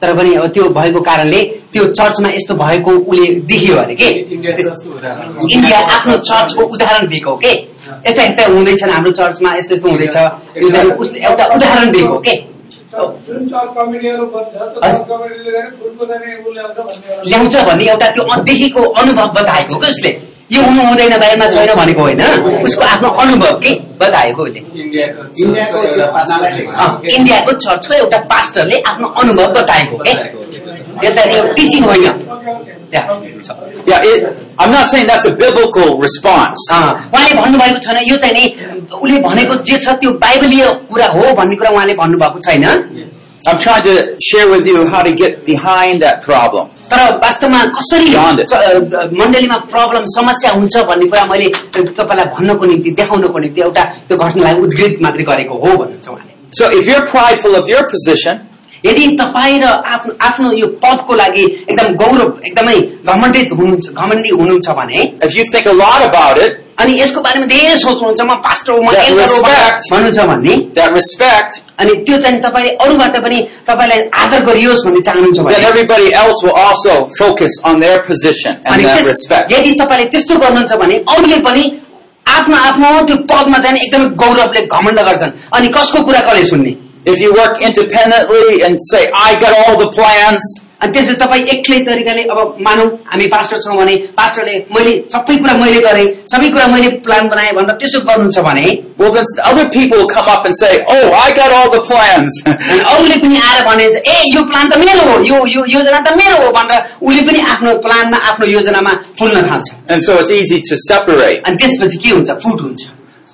तर पनि अब त्यो भएको कारणले त्यो चर्चमा यस्तो भएको उसले देखियो अरे Indian के church को उदाहरण। इन्डिया आफ्नो चर्चको उदाहरण दिएको हो के यस्ता यस्ता हुँदैछन् हाम्रो चर्चमा यस्तो यस्तो हुँदैछ यो चाहिँ उसले एउटा उदाहरण दिएको हो के चर्च- जुन चर्च कमिटीहरू बन्छ त्यो चर्च कमिटीले जाने फुलको जाने उसले आउँछ ल्याउँछ भन्ने एउटा भन्ने एउटा त्यो अदेखिको अनुभव बताएको हो कि उसले यो हुनु हुँदैन बाहिरमा छैन भनेको होइन उसको आफ्नो अनुभव के बताएको उसले इन्डियाको इन्डियाको एउटा त्यो पास्टरले पास्टरले अँ, भनेको। इन्डियाको चर्चको एउटा पास्टरले आफ्नो अनुभव बताएको हो के यो चाहिँ यो टिचिङ होइन Yeah. Yeah, it, I'm not saying that's a biblical response. अँ, उहाँले भन्नुभएको छैन यो चाहिँ नि उसले भनेको जे छ त्यो बाइबलीय कुरा हो भन्ने कुरा उहाँले भन्नुभएको छैन I'm trying to share with you how to get behind that problem. तर वास्तवमा कसरी Beyond it. च- अ, मण्डलीमा प्रब्लम समस्या हुन्छ भन्ने कुरा मैले तपाईँलाई भन्नको निम्ति देखाउनको निम्ति एउटा त्यो घटनालाई उद्घृत मात्रै गरेको हो भन्नुहुन्छ उहाँले So if you're prideful of your position, यदि तपाईँ र आफ्नो आफ्नो यो पदको लागि एकदम गौरव एकदमै घमण्डित हुनुहुन्छ घमण्डी हुनुहुन्छ भने if you think a lot about it, अनि यसको बारेमा धेरै सोच्नुहुन्छ म पास्टर हो, म That elder हो respect. भन्नुहुन्छ भने that respect, अनि त्यो चाहिँ तपाईँले अरूबाट पनि तपाईँलाई आदर गरियोस् भन्ने चाहनुहुन्छ भने then everybody else will also focus on their position and अनि that त्यस- respect. यदि तपाईँले त्यस्तो गर्नुहुन्छ भने अरूले पनि आफ्नो आफ्नो त्यो पदमा जाने एकदमै गौरवले घमण्ड गर्छन् अनि कसको कुरा कसले सुन्ने If you work independently and say, I got all the plans, अनि त्यसो तपाईँ एक्लै तरिकाले अब मानौ हामी पास्टर छौँ भने पास्टरले मैले सबै कुरा मैले गरेँ सबै कुरा मैले प्लान बनाएँ भनेर त्यसो गर्नुहुन्छ भने well then other people will come up and say, oh, I got all the plans. अनि अरूले पनि आएर भने चाहिँ, ए यो प्लान त मेरो हो यो यो योजना त मेरो हो भनेर उसले पनि आफ्नो प्लानमा आफ्नो योजनामा फुल्न थाल्छ and so it's easy to separate. अनि त्यसपछि के हुन्छ फुट हुन्छ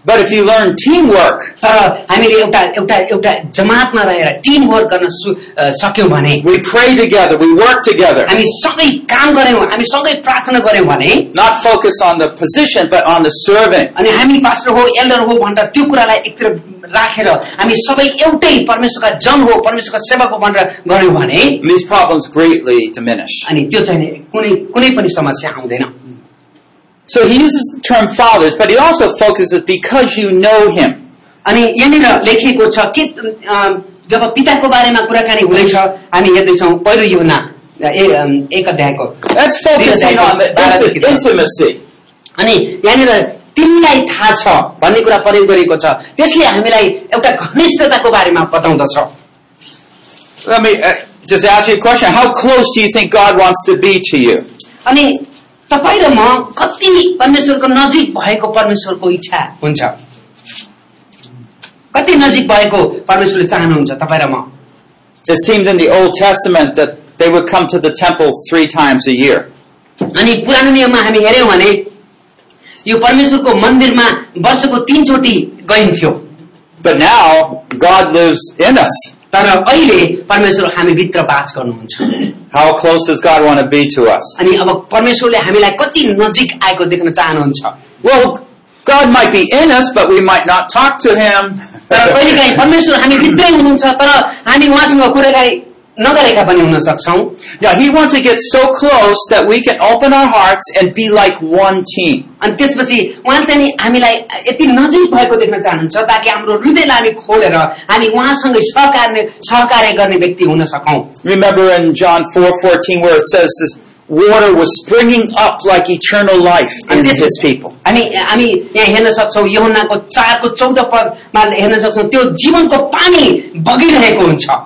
But if you learn teamwork, तर हामीले एउटा एउटा एउटा जमातमा रहेर टिम वर्क गर्न सु- अ, सक्यौँ भने we pray together, we work together, हामी सँगै काम गऱ्यौँ हामी सँगै प्रार्थना गऱ्यौँ भने not focus on the position, but on the serving. अनि हामी पास्टर हो एल्डर हो भनेर त्यो कुरालाई एकतिर राखेर हामी सबै एउटै परमेश्वरका जन हो परमेश्वरका सेवक हो भनेर गऱ्यौँ भने And these problems greatly diminish. अनि त्यो चाहिँ नि कुनै कुनै पनि समस्या आउँदैन So he uses the term fathers, but he also focuses because you know him. अनि यहाँनिर लेखिएको छ कि अ, जब पिताको बारेमा कुराकानी हुँदैछ हामी हेर्दैछौँ पहिलो योना ए, अ, एक अध्यायको That's focusing on the that's an intimacy. अनि यहाँनिर तिमीलाई थाहा छ भन्ने कुरा प्रयोग गरिएको छ त्यसले हामीलाई एउटा घनिष्ठताको बारेमा बताउँदछ Let me uh, just ask you a question. How close do you think God wants to be to you? अनि तपाईँ र म कति परमेश्वरको नजिक भएको परमेश्वरको इच्छा हुन्छ कति नजिक भएको परमेश्वरले चाहनुहुन्छ तपाईँ र म It seemed in the Old Testament that they would come to the temple three times a year. अनि पुरानो नियममा हामी हेऱ्यौँ भने यो परमेश्वरको मन्दिरमा वर्षको तीनचोटि गइन्थ्यो But now God lives in us. तर अहिले परमेश्वर हामीभित्र बास गर्नुहुन्छ How close does God want to be to us? अनि अब परमेश्वरले हामीलाई कति नजिक आएको देख्न चाहनुहुन्छ Well, God might be in us, but we might not talk to Him. तर कहिले काहीँ परमेश्वर हामी भित्रै हुनुहुन्छ तर हामी उहाँसँग कुराकानी नगरेका पनि हुन सक्छौँ now, He wants to get so close that we can open our hearts and be like one team. अनि त्यसपछि उहाँ चाहिँ नि हामीलाई यति नजिक भएको देख्न चाहनुहुन्छ ताकि हाम्रो हृदयलाई हामी खोलेर हामी उहाँसँग सहकार्य सहकार्य गर्ने व्यक्ति हुन सकौँ Remember in John 4:14 where it says this water was springing up like eternal life in And this- his people. हामी हामी यहाँ हेर्न सक्छौ योहन्नाको चारको चौध पदमा हेर्न सक्छौ त्यो जीवनको पानी बगिरहेको हुन्छ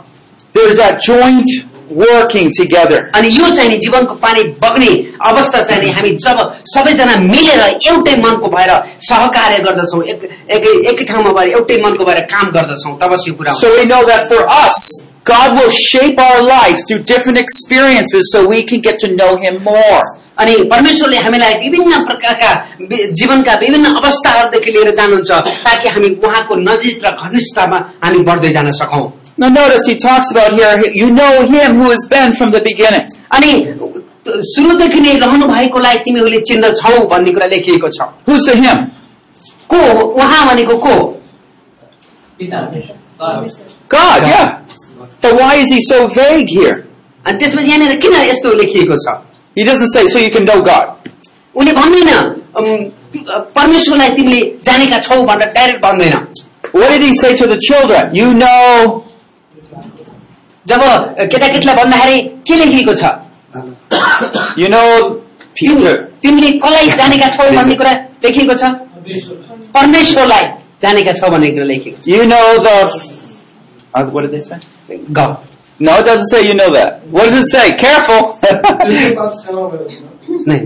There's that joint working together. अनि यो चाहिँ नि जीवनको पानी बग्ने अवस्था चाहिँ नि हामी जब सबैजना मिलेर एउटै मनको भएर सहकार्य गर्दछौ एक एकै एकै ठाउँमा भएर एउटै मनको भएर काम गर्दछौ तब यो कुरा हुन्छ। So we know that for us, God will shape our life through different experiences so we can get to know Him more. अनि परमेश्वरले हामीलाई विभिन्न प्रकारका वि- जीवनका विभिन्न अवस्थाहरूदेखि लिएर जानुहुन्छ ताकि हामी उहाँको नजिक र घनिष्ठमा हामी बढ्दै जान सकौँ Now notice He talks about here, you know Him who has been from the beginning. अनि सुरुदेखि नै रहनु भएकोलाई तिमीहरूले चिन्दछौ भन्ने कुरा लेखिएको छ Who's the Him? को हो? उहाँ भनेको को हो? God, yeah. But why is He so vague here? अनि त्यसपछि यहाँनिर किन यस्तो लेखिएको छ He doesn't say, so you can know God. उनले भन्दैन अम्, परमेश्वरलाई तिमीले जानेका छौ भनेर डाइरेक्ट भन्दैन What did He say to the children? You know जब केटाकेटीलाई भन्दाखेरि के लेखिएको छ You know, Peter. तिमी- तिमीले कसलाई जानेका छौ भन्ने कुरा लेखिएको छ परमेश्वरलाई जानेका छौ भन्ने कुरा लेखिएको You know the. Uh, what did they say? छ गफ No, it doesn't say you know that. What does it say? Careful. नै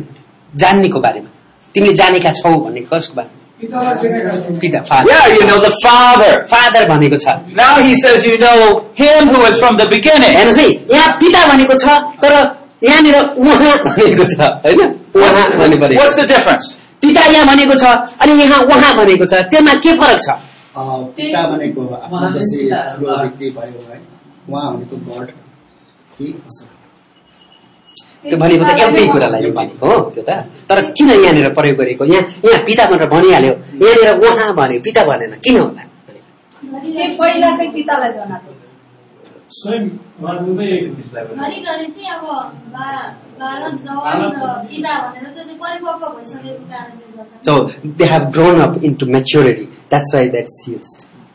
जान्नेको बारेमा तिमीले जानेका छौ भन्ने कसको बारेमा पिता father yeah, you know the Father. Father भनेको छ Now he says you know Him who is from the beginning. हेर्नुहोस् है यहाँ पिता भनेको छ तर यहाँनिर उहाँ भनेको छ होइन उहाँ भन्ने पऱ्यो What's the difference? पिता यहाँ भनेको छ अनि यहाँ उहाँ भनेको छ त्यसमा के फरक छ पिता भनेको आफ्नो जस्तै ठुलो व्यक्ति भयो है उहाँ भनेको गड कि असर त्यो भनेको त एउटै कुरालाई यो भनेको हो त्यो त तर किन यहाँनिर प्रयोग गरेको यहाँ यहाँ पिता भनेर भनिहाल्यो यहाँनिर उहाँ भन्यो पिता भनेन किन होला त्यो पहिलाकै पितालाई जनाएको स्वयं उहाँले भनिकन चाहिँ अब बा- बाल जवान र पिता भनेर त्यो चाहिँ परिपक्व भइसकेको कारणले गर्दा so they have grown up into maturity that's why that's use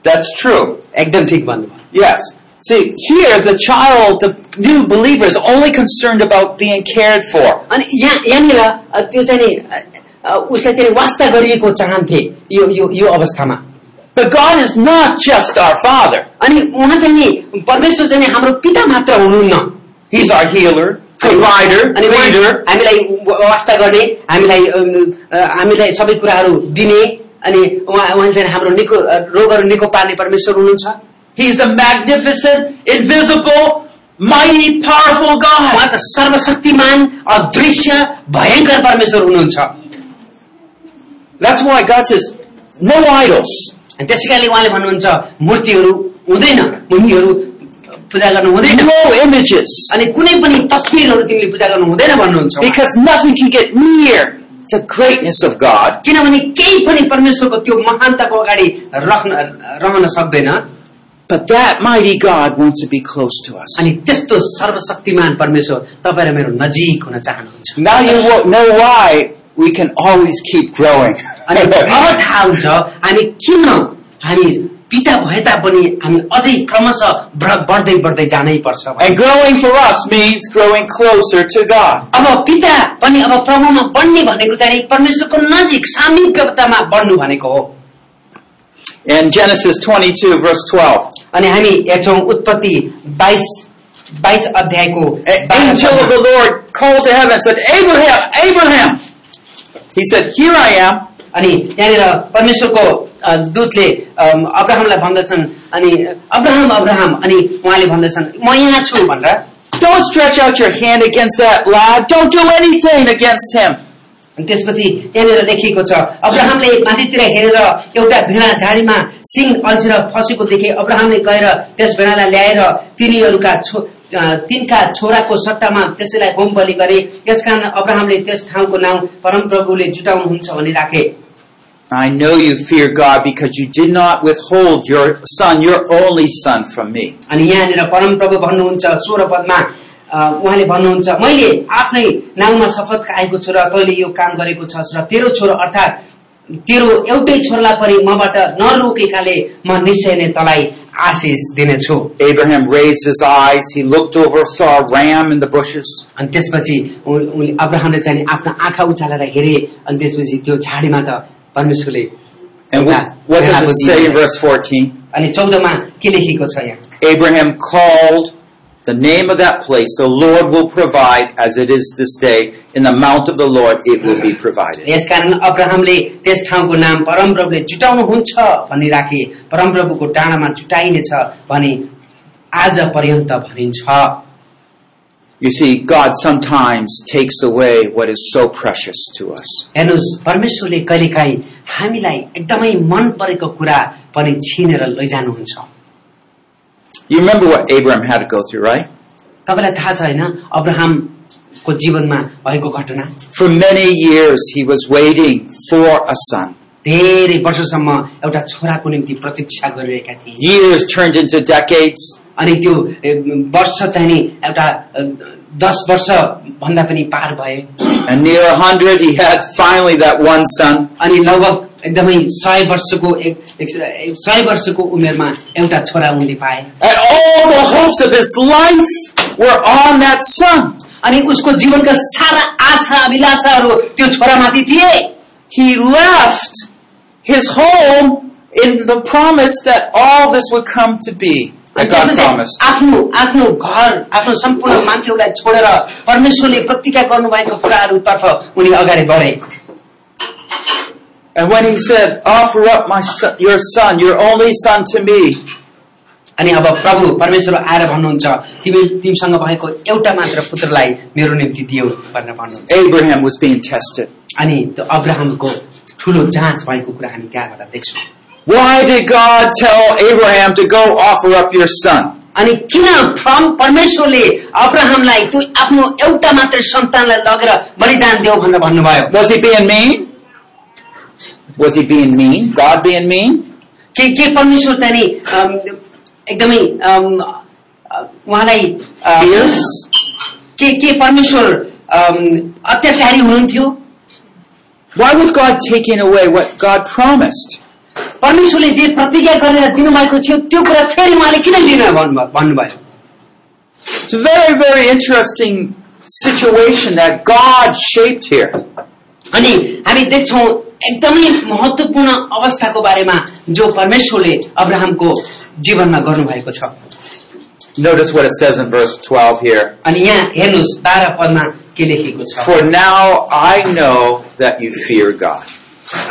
That's true. एकदम ठिक भन्नुभयो Yes. See, here the child, the new believer, is only concerned about being cared for. अनि यहाँ यहाँनिर अ, त्यो चाहिँ नि अ, अ, उसलाई चाहिँ नि वास्ता गरिएको चाहन्थे यो यो यो अवस्थामा But God is not just our Father. अनि उहाँ चाहिँ नि परमेश्वर चाहिँ नि हाम्रो पिता मात्र हुनुहुन्न He's our healer, provider, अनि उहाँ leader. हामीलाई व- वास्ता गर्ने हामीलाई अम, अ, हामीलाई सबै कुराहरू दिने अनि उहाँ उहाँ चाहिँ हाम्रो निको अ, रोगहरू निको पार्ने परमेश्वर हुनुहुन्छ He's the magnificent, invisible, mighty, powerful उहाँ God. त सर्वशक्तिमान अदृश्य भयङ्कर परमेश्वर हुनुहुन्छ That's why God says, no idols. अनि त्यसै कारणले उहाँले भन्नुहुन्छ मूर्तिहरू हुँदैन मूर्तिहरू पूजा गर्नु हुँदैन No images. अनि कुनै पनि तस्विरहरू तिमीले पूजा गर्नु हुँदैन भन्नुहुन्छ Because nothing can get near the greatness of God. किनभने केही पनि परमेश्वरको त्यो महानताको अगाडि राख्न रहन सक्दैन But that mighty God wants to be close to us. अनि त्यस्तो सर्वशक्तिमान परमेश्वर तपाईँ र मेरो नजिक हुन चाहनुहुन्छ Now you wo- know why we can always keep growing. अनि अब थाहा हुन्छ हामी किन हामी पिता भए तापनि हामी अझै क्रमशः बढ- बढ्दै बढ्दै जानै पर्छ भने। and growing for us means growing closer to God. अब पिता पनि अब प्रभुमा बढ्ने भनेको चाहिँ परमेश्वरको नजिक सामिप्यतामा बढ्नु भनेको हो In Genesis 22 verse 12, अनि हामी हेर्छौँ उत्पत्ति बाइस बाइस अध्यायको an 12 angel of the Lord called to heaven and said, Abraham, Abraham! He said, here I am. अनि यहाँनिर परमेश्वरको अ, दूतले अम, अब्राहमलाई भन्दछन् अनि अब्राहम अब्राहम अनि उहाँले भन्दछन् म यहाँ छु भनेर Don't stretch out your hand against that lad. Don't do anything against him. अनि त्यसपछि यहाँनिर लेखिएको छ अब्राहमले माथितिर हेरेर एउटा भेडा झाडीमा सिङ अल्छेर फसेको देखे अब्राहमले गएर त्यस भेडालाई ल्याएर तिनीहरूका छो अँ, तिनका छोराको सट्टामा त्यसैलाई होम बलि गरे यसकारण अब्राहमले त्यस ठाउँको नाउँ परमप्रभुले जुटाउनुहुन्छ भनी राखे I know you fear God because you did not withhold your son, your only son, from me. अनि यहाँनिर परमप्रभु भन्नुहुन्छ सोह्र पदमा अँ, उहाँले भन्नुहुन्छ मैले आफ्नै नाउँमा शपथ खाएको छु र तैँले यो काम गरेको छस् र तेरो छोरो अर्थात् तेरो एउटै छोरालाई पनि मबाट नरोकेकाले म निश्चय नै तलाई आशिष दिनेछु Abraham raised his eyes. He looked over, saw a ram in the bushes. अनि त्यसपछि उ- उनले अब्राहमले चाहिँ आफ्ना आँखा उचालेर हेरे अनि त्यसपछि त्यो झाडीबाट परमेश्वरले And what, what does it say in verse 14? अनि चौधमा के लेखिएको छ यहाँ Abraham called the name of that place, the Lord will provide as it is this day. In the mount of the Lord it will be provided. यसकारण अब्राहमले त्यस ठाउँको नाम परमप्रभुले जुटाउनुहुन्छ भनी राखे परमप्रभुको डाँडामा जुटाइनेछ भने आज पर्यन्त भनिन्छ You see, God sometimes takes away what is so precious to us. हेर्नुहोस् परमेश्वरले कहिलेकाहीँ हामीलाई एकदमै मन परेको कुरा पनि छिनेर लैजानुहुन्छ You remember what Abraham had to go through, right? तपाईँलाई थाहा छ होइन अब्राहमको जीवनमा भएको घटना For many years he was waiting for a son. धेरै वर्षसम्म एउटा छोराको निम्ति प्रतीक्षा गरिरहेका थिए Years turned into decades. अनि त्यो ए, वर्ष चाहिँ नि एउटा अ, दस वर्ष भन्दा पनि पार भए And near a hundred he had finally that one son. अनि लगभग एकदमै सय वर्षको एक- एक- एक- सय वर्षको उमेरमा एउटा छोरा उनले पाए And all the hopes of his life were on that son. अनि उसको जीवनका सारा आशा अभिलाषाहरू त्यो छोरामाथि थिए He left his home in the promise that all this would come to be. अनि That God त्यसपछि promised. आफ्नो आफ्नो घर आफ्नो सम्पूर्ण मान्छेहरूलाई छोडेर परमेश्वरले प्रतिज्ञा गर्नुभएको कुराहरूतर्फ उनी अगाडि बढे And when he said, offer up my son, your son, your only son to me, अनि अब प्रभु परमेश्वर आएर भन्नुहुन्छ तिमी तिमीसँग भएको एउटा मात्र पुत्रलाई मेरो निम्ति दियो भनेर भन्नुहुन्छ Abraham was being tested. अनि त्यो अब्राहमको ठुलो जाँच भएको कुरा हामी त्यहाँबाट देख्छौँ Why did God tell Abraham to go offer up your son? अनि किन फ्रम परमेश्वरले अब्राहमलाई त्यो आफ्नो एउटा मात्र सन्तानलाई लगेर बलिदान देऊ भनेर भन्नुभयो Was he being mean? Was he being mean? God being mean? के के परमेश्वर चाहिँ नि अम, एकदमै अम, अ, उहाँलाई अ, Fierce? के के परमेश्वर अम, अत्याचारी हुनुहुन्थ्यो Why was God taking away what God promised? परमेश्वरले जे प्रतिज्ञा गरेर दिनुभएको थियो त्यो कुरा फेरि उहाँले किन लिन भन्नुभयो भन्नुभयो It's a very, very interesting situation that God shaped here. अनि हामी देख्छौ एकदमै महत्वपूर्ण अवस्थाको बारेमा जो परमेश्वरले अब्राहमको जीवनमा गर्नुभएको छ Notice what it says in verse 12 here. अनि यहाँ हेर्नुहोस् बाह्र पदमा के लेखेको छ For now I know that you fear God.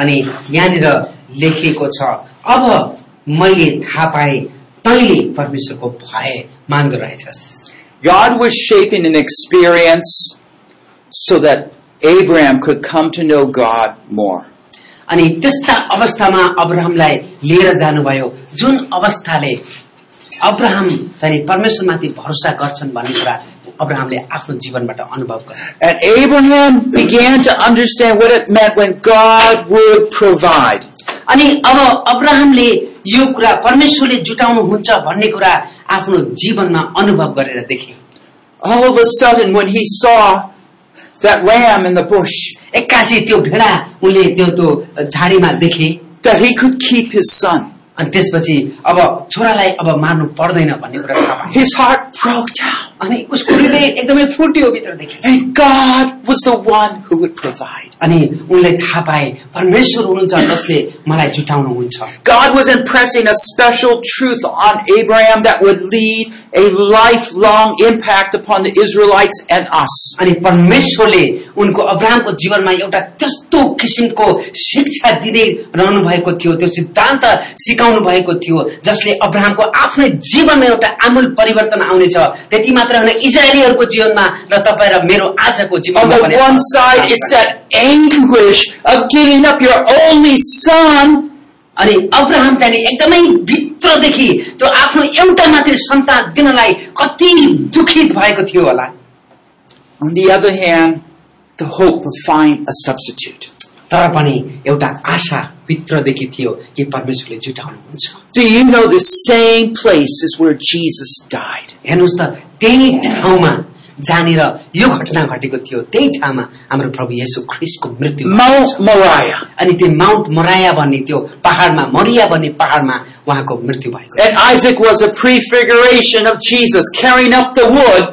अनि यहाँनिर लेखिएको छ अब मैले थाहा पाएँ तैँले परमेश्वरको भय मान्दो रहेछस् God was shaping an experience so that Abraham could come to know God more. अनि त्यस्ता अवस्थामा अब्राहमलाई लिएर जानुभयो जुन अवस्थाले अब्राहम चाहिँ परमेश्वरमाथि भरोसा गर्छन् भन्ने कुरा अब्राहमले आफ्नो जीवनबाट अनुभव गरे And Abraham began to understand what it meant when God would provide. अनि अब अब्राहमले यो कुरा परमेश्वरले जुटाउनुहुन्छ भन्ने कुरा आफ्नो जीवनमा अनुभव गरेर देखे All of a sudden, when he saw that ram in the bush, एक्कासी त्यो भेडा उनले त्यो त्यो झाडीमा देखे that he could keep his son, अनि त्यसपछि अब छोरालाई अब मार्नु पर्दैन भन्ने कुरा थाहा पाए। his heart broke down. अनि उसको हृदय एकदमै फुट्यो भित्रदेखि And God was the one who would provide. अनि उनले थाहा पाए परमेश्वर हुनुहुन्छ जसले मलाई जुटाउनुहुन्छ God was impressing a special truth on Abraham that would lead a lifelong impact upon the Israelites and us. अनि परमेश्वरले उनको अब्राहमको जीवनमा एउटा त्यस्तो किसिमको शिक्षा दिँदै रहनु भएको थियो त्यो सिद्धान्त सिकाउनु भएको थियो जसले अब्राहमको आफ्नै जीवनमा एउटा आमूल परिवर्तन आउनेछ त्यति मात्र होइन इजरायलीहरूको जीवनमा र तपाईँ र मेरो आजको On जीवनमा the पनि one side, it's that anguish of giving up your only son अनि अब्राहम त्यहाँनिर एकदमै भित्रदेखि त्यो आफ्नो एउटा मात्रै सन्तान दिनलाई कति दुखित भएको थियो होला On the other hand, the hope of find a substitute. तर पनि एउटा आशा भित्रदेखि थियो कि परमेश्वरले जुटाउनुहुन्छ Do you know the same place is where Jesus died? हेर्नुहोस् त त्यही ठाउँमा जहाँनिर यो घटना घटेको थियो त्यही ठाउँमा हाम्रो प्रभु येशू ख्रिस्टको मृत्यु भएको Mount छ। Moriah. अनि त्यो माउन्ट मराया भन्ने त्यो पहाडमा मरिया भन्ने पहाडमा उहाँको मृत्यु भएको And Isaac was a prefiguration of Jesus, carrying up the wood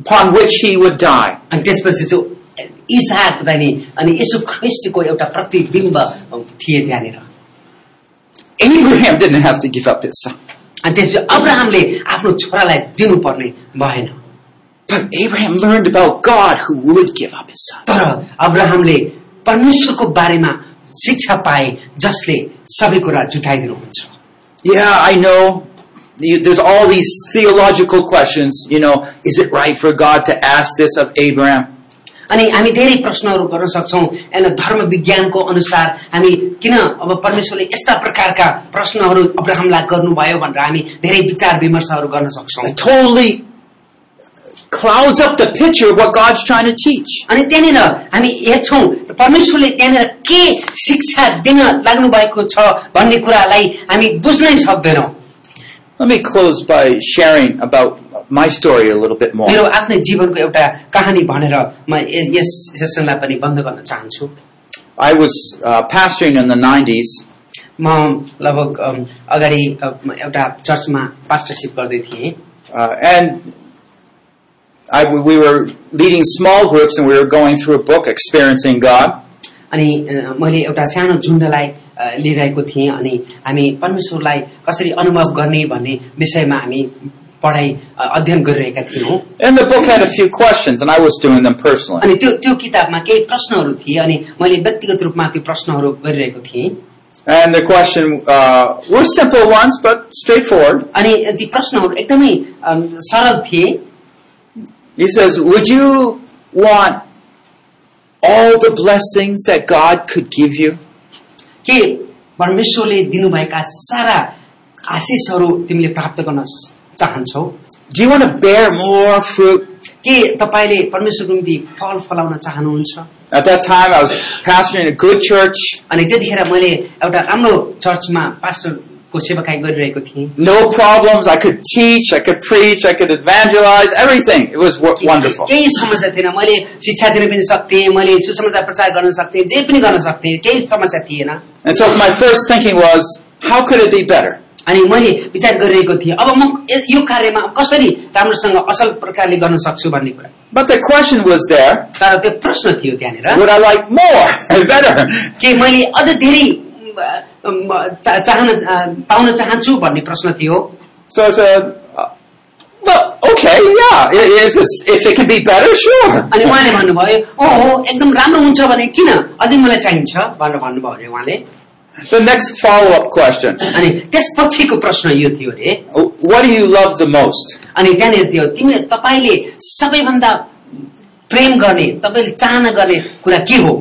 upon which he would die. अनि त्यसपछि चाहिँ इसाक नि अनि यसो ख्रिस्टको एउटा प्रतिबिम्ब थिए त्यहाँनिर Abraham didn't have to give up his son. अनि त्यसपछि अब्राहमले आफ्नो छोरालाई दिनुपर्ने भएन But Abraham learned about God who would give up his son. तर अब्राहमले परमेश्वरको बारेमा शिक्षा पाए जसले सबै कुरा जुटाइदिनुहुन्छ Yeah, I know. You- There's all these theological questions. You know, is it right for God to ask this of Abraham? अनि हामी धेरै प्रश्नहरू गर्न सक्छौँ होइन धर्म विज्ञानको अनुसार हामी किन अब परमेश्वरले यस्ता प्रकारका प्रश्नहरू अब्राहमलाई गर्नुभयो भनेर हामी धेरै विचार विमर्शहरू गर्न सक्छौँ It totally clouds up the picture of what God's trying to teach. अनि त्यहाँनिर हामी हेर्छौँ परमेश्वरले त्यहाँनिर के शिक्षा दिन लाग्नु भएको छ भन्ने कुरालाई हामी बुझ्नै सक्दैनौँ Let me close by sharing about my story a little bit more. मेरो आफ्नै जीवनको एउटा कहानी भनेर म य- यस सेसनलाई पनि बन्द गर्न चाहन्छु I was uh, pastoring in the 90s, म लगभग अम, अगाडि अ, म एउटा चर्चमा पास्टरसिप गर्दै थिएँ uh, and I, we were leading small groups and we were going through a book, Experiencing God. अनि अ, मैले एउटा सानो झुन्डलाई अ, लिइरहेको थिएँ अनि हामी परमेश्वरलाई कसरी अनुभव गर्ने भन्ने विषयमा हामी पढाइ अ, अध्ययन गरिरहेका थियौँ And the book had a few questions, and I was doing them personally. अनि त्यो त्यो किताबमा केही प्रश्नहरू थिए अनि मैले व्यक्तिगत रूपमा त्यो प्रश्नहरू गरिरहेको थिएँ And the question uh, were simple ones, but straightforward. अनि ती प्रश्नहरू एकदमै अम, सरल थिए He says, "Would you want all the blessings that God could give you?" के परमेश्वरले दिनुभएका सारा आशिषहरू तिमीले प्राप्त गर्न स- चाहन्छौ Do you want to bear more fruit? के तपाईँले परमेश्वरको निम्ति फल फलाउन चाहनुहुन्छ At that time, I was pastoring a good church, अनि त्यतिखेर मैले एउटा राम्रो चर्चमा पास्टरको सेवाकाई गरिरहेको थिएँ no problems. I could teach, I could preach, I could evangelize, everything. It was wo- के- wonderful. केही समस्या थिएन मैले शिक्षा दिन पनि सक्थेँ मैले सुसमाचार प्रचार गर्न सक्थेँ जे पनि गर्न सक्थेँ केही समस्या थिएन And so my first thinking was, how could it be better? अनि मैले विचार गरिरहेको थिएँ अब म य- यो कार्यमा कसरी राम्रोसँग असल प्रकारले गर्न सक्छु भन्ने कुरा But the question was there, तर त्यो प्रश्न थियो त्यहाँनिर would I like more and better? के मैले अझ धेरै म, म, चा- चाहन अ, पाउन चाहन्छु भन्ने प्रश्न थियो So I said, uh, well, okay, yeah, i- if, it's, if it can be better, sure. अनि उहाँले भन्नुभयो ओ हो एकदम राम्रो हुन्छ भने किन अझै मलाई चाहिन्छ भनेर भन्नुभयो अरे उहाँले The next follow-up question, अनि त्यसपछिको प्रश्न यो थियो अरे what do you love the most? अनि त्यहाँनिर थियो तिमीले तपाईँले सबैभन्दा प्रेम गर्ने तपाईँले चाहना गर्ने कुरा के हो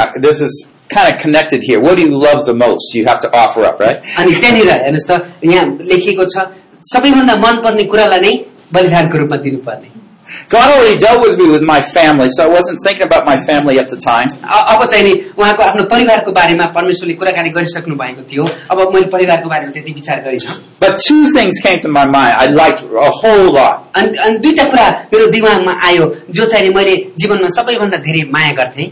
Uh, this is kind of connected here. What do you love the most? You have to offer up, right? अनि त्यहाँनिर हेर्नुहोस् त यहाँ लेखिएको छ सबैभन्दा मनपर्ने कुरालाई नै बलिदानको रूपमा दिनुपर्ने God already dealt with me with my family, so I wasn't thinking about my family at the time. अ- अब चाहिँ नि उहाँको आफ्नो परिवारको बारेमा परमेश्वरले कुराकानी गरिसक्नु भएको थियो अब मैले परिवारको बारेमा त्यति विचार गरिनँ But two things came to my mind I liked a whole lot. अनि अनि दुईटा कुरा मेरो दिमागमा आयो जो चाहिँ नि मैले जीवनमा सबैभन्दा धेरै माया गर्थेँ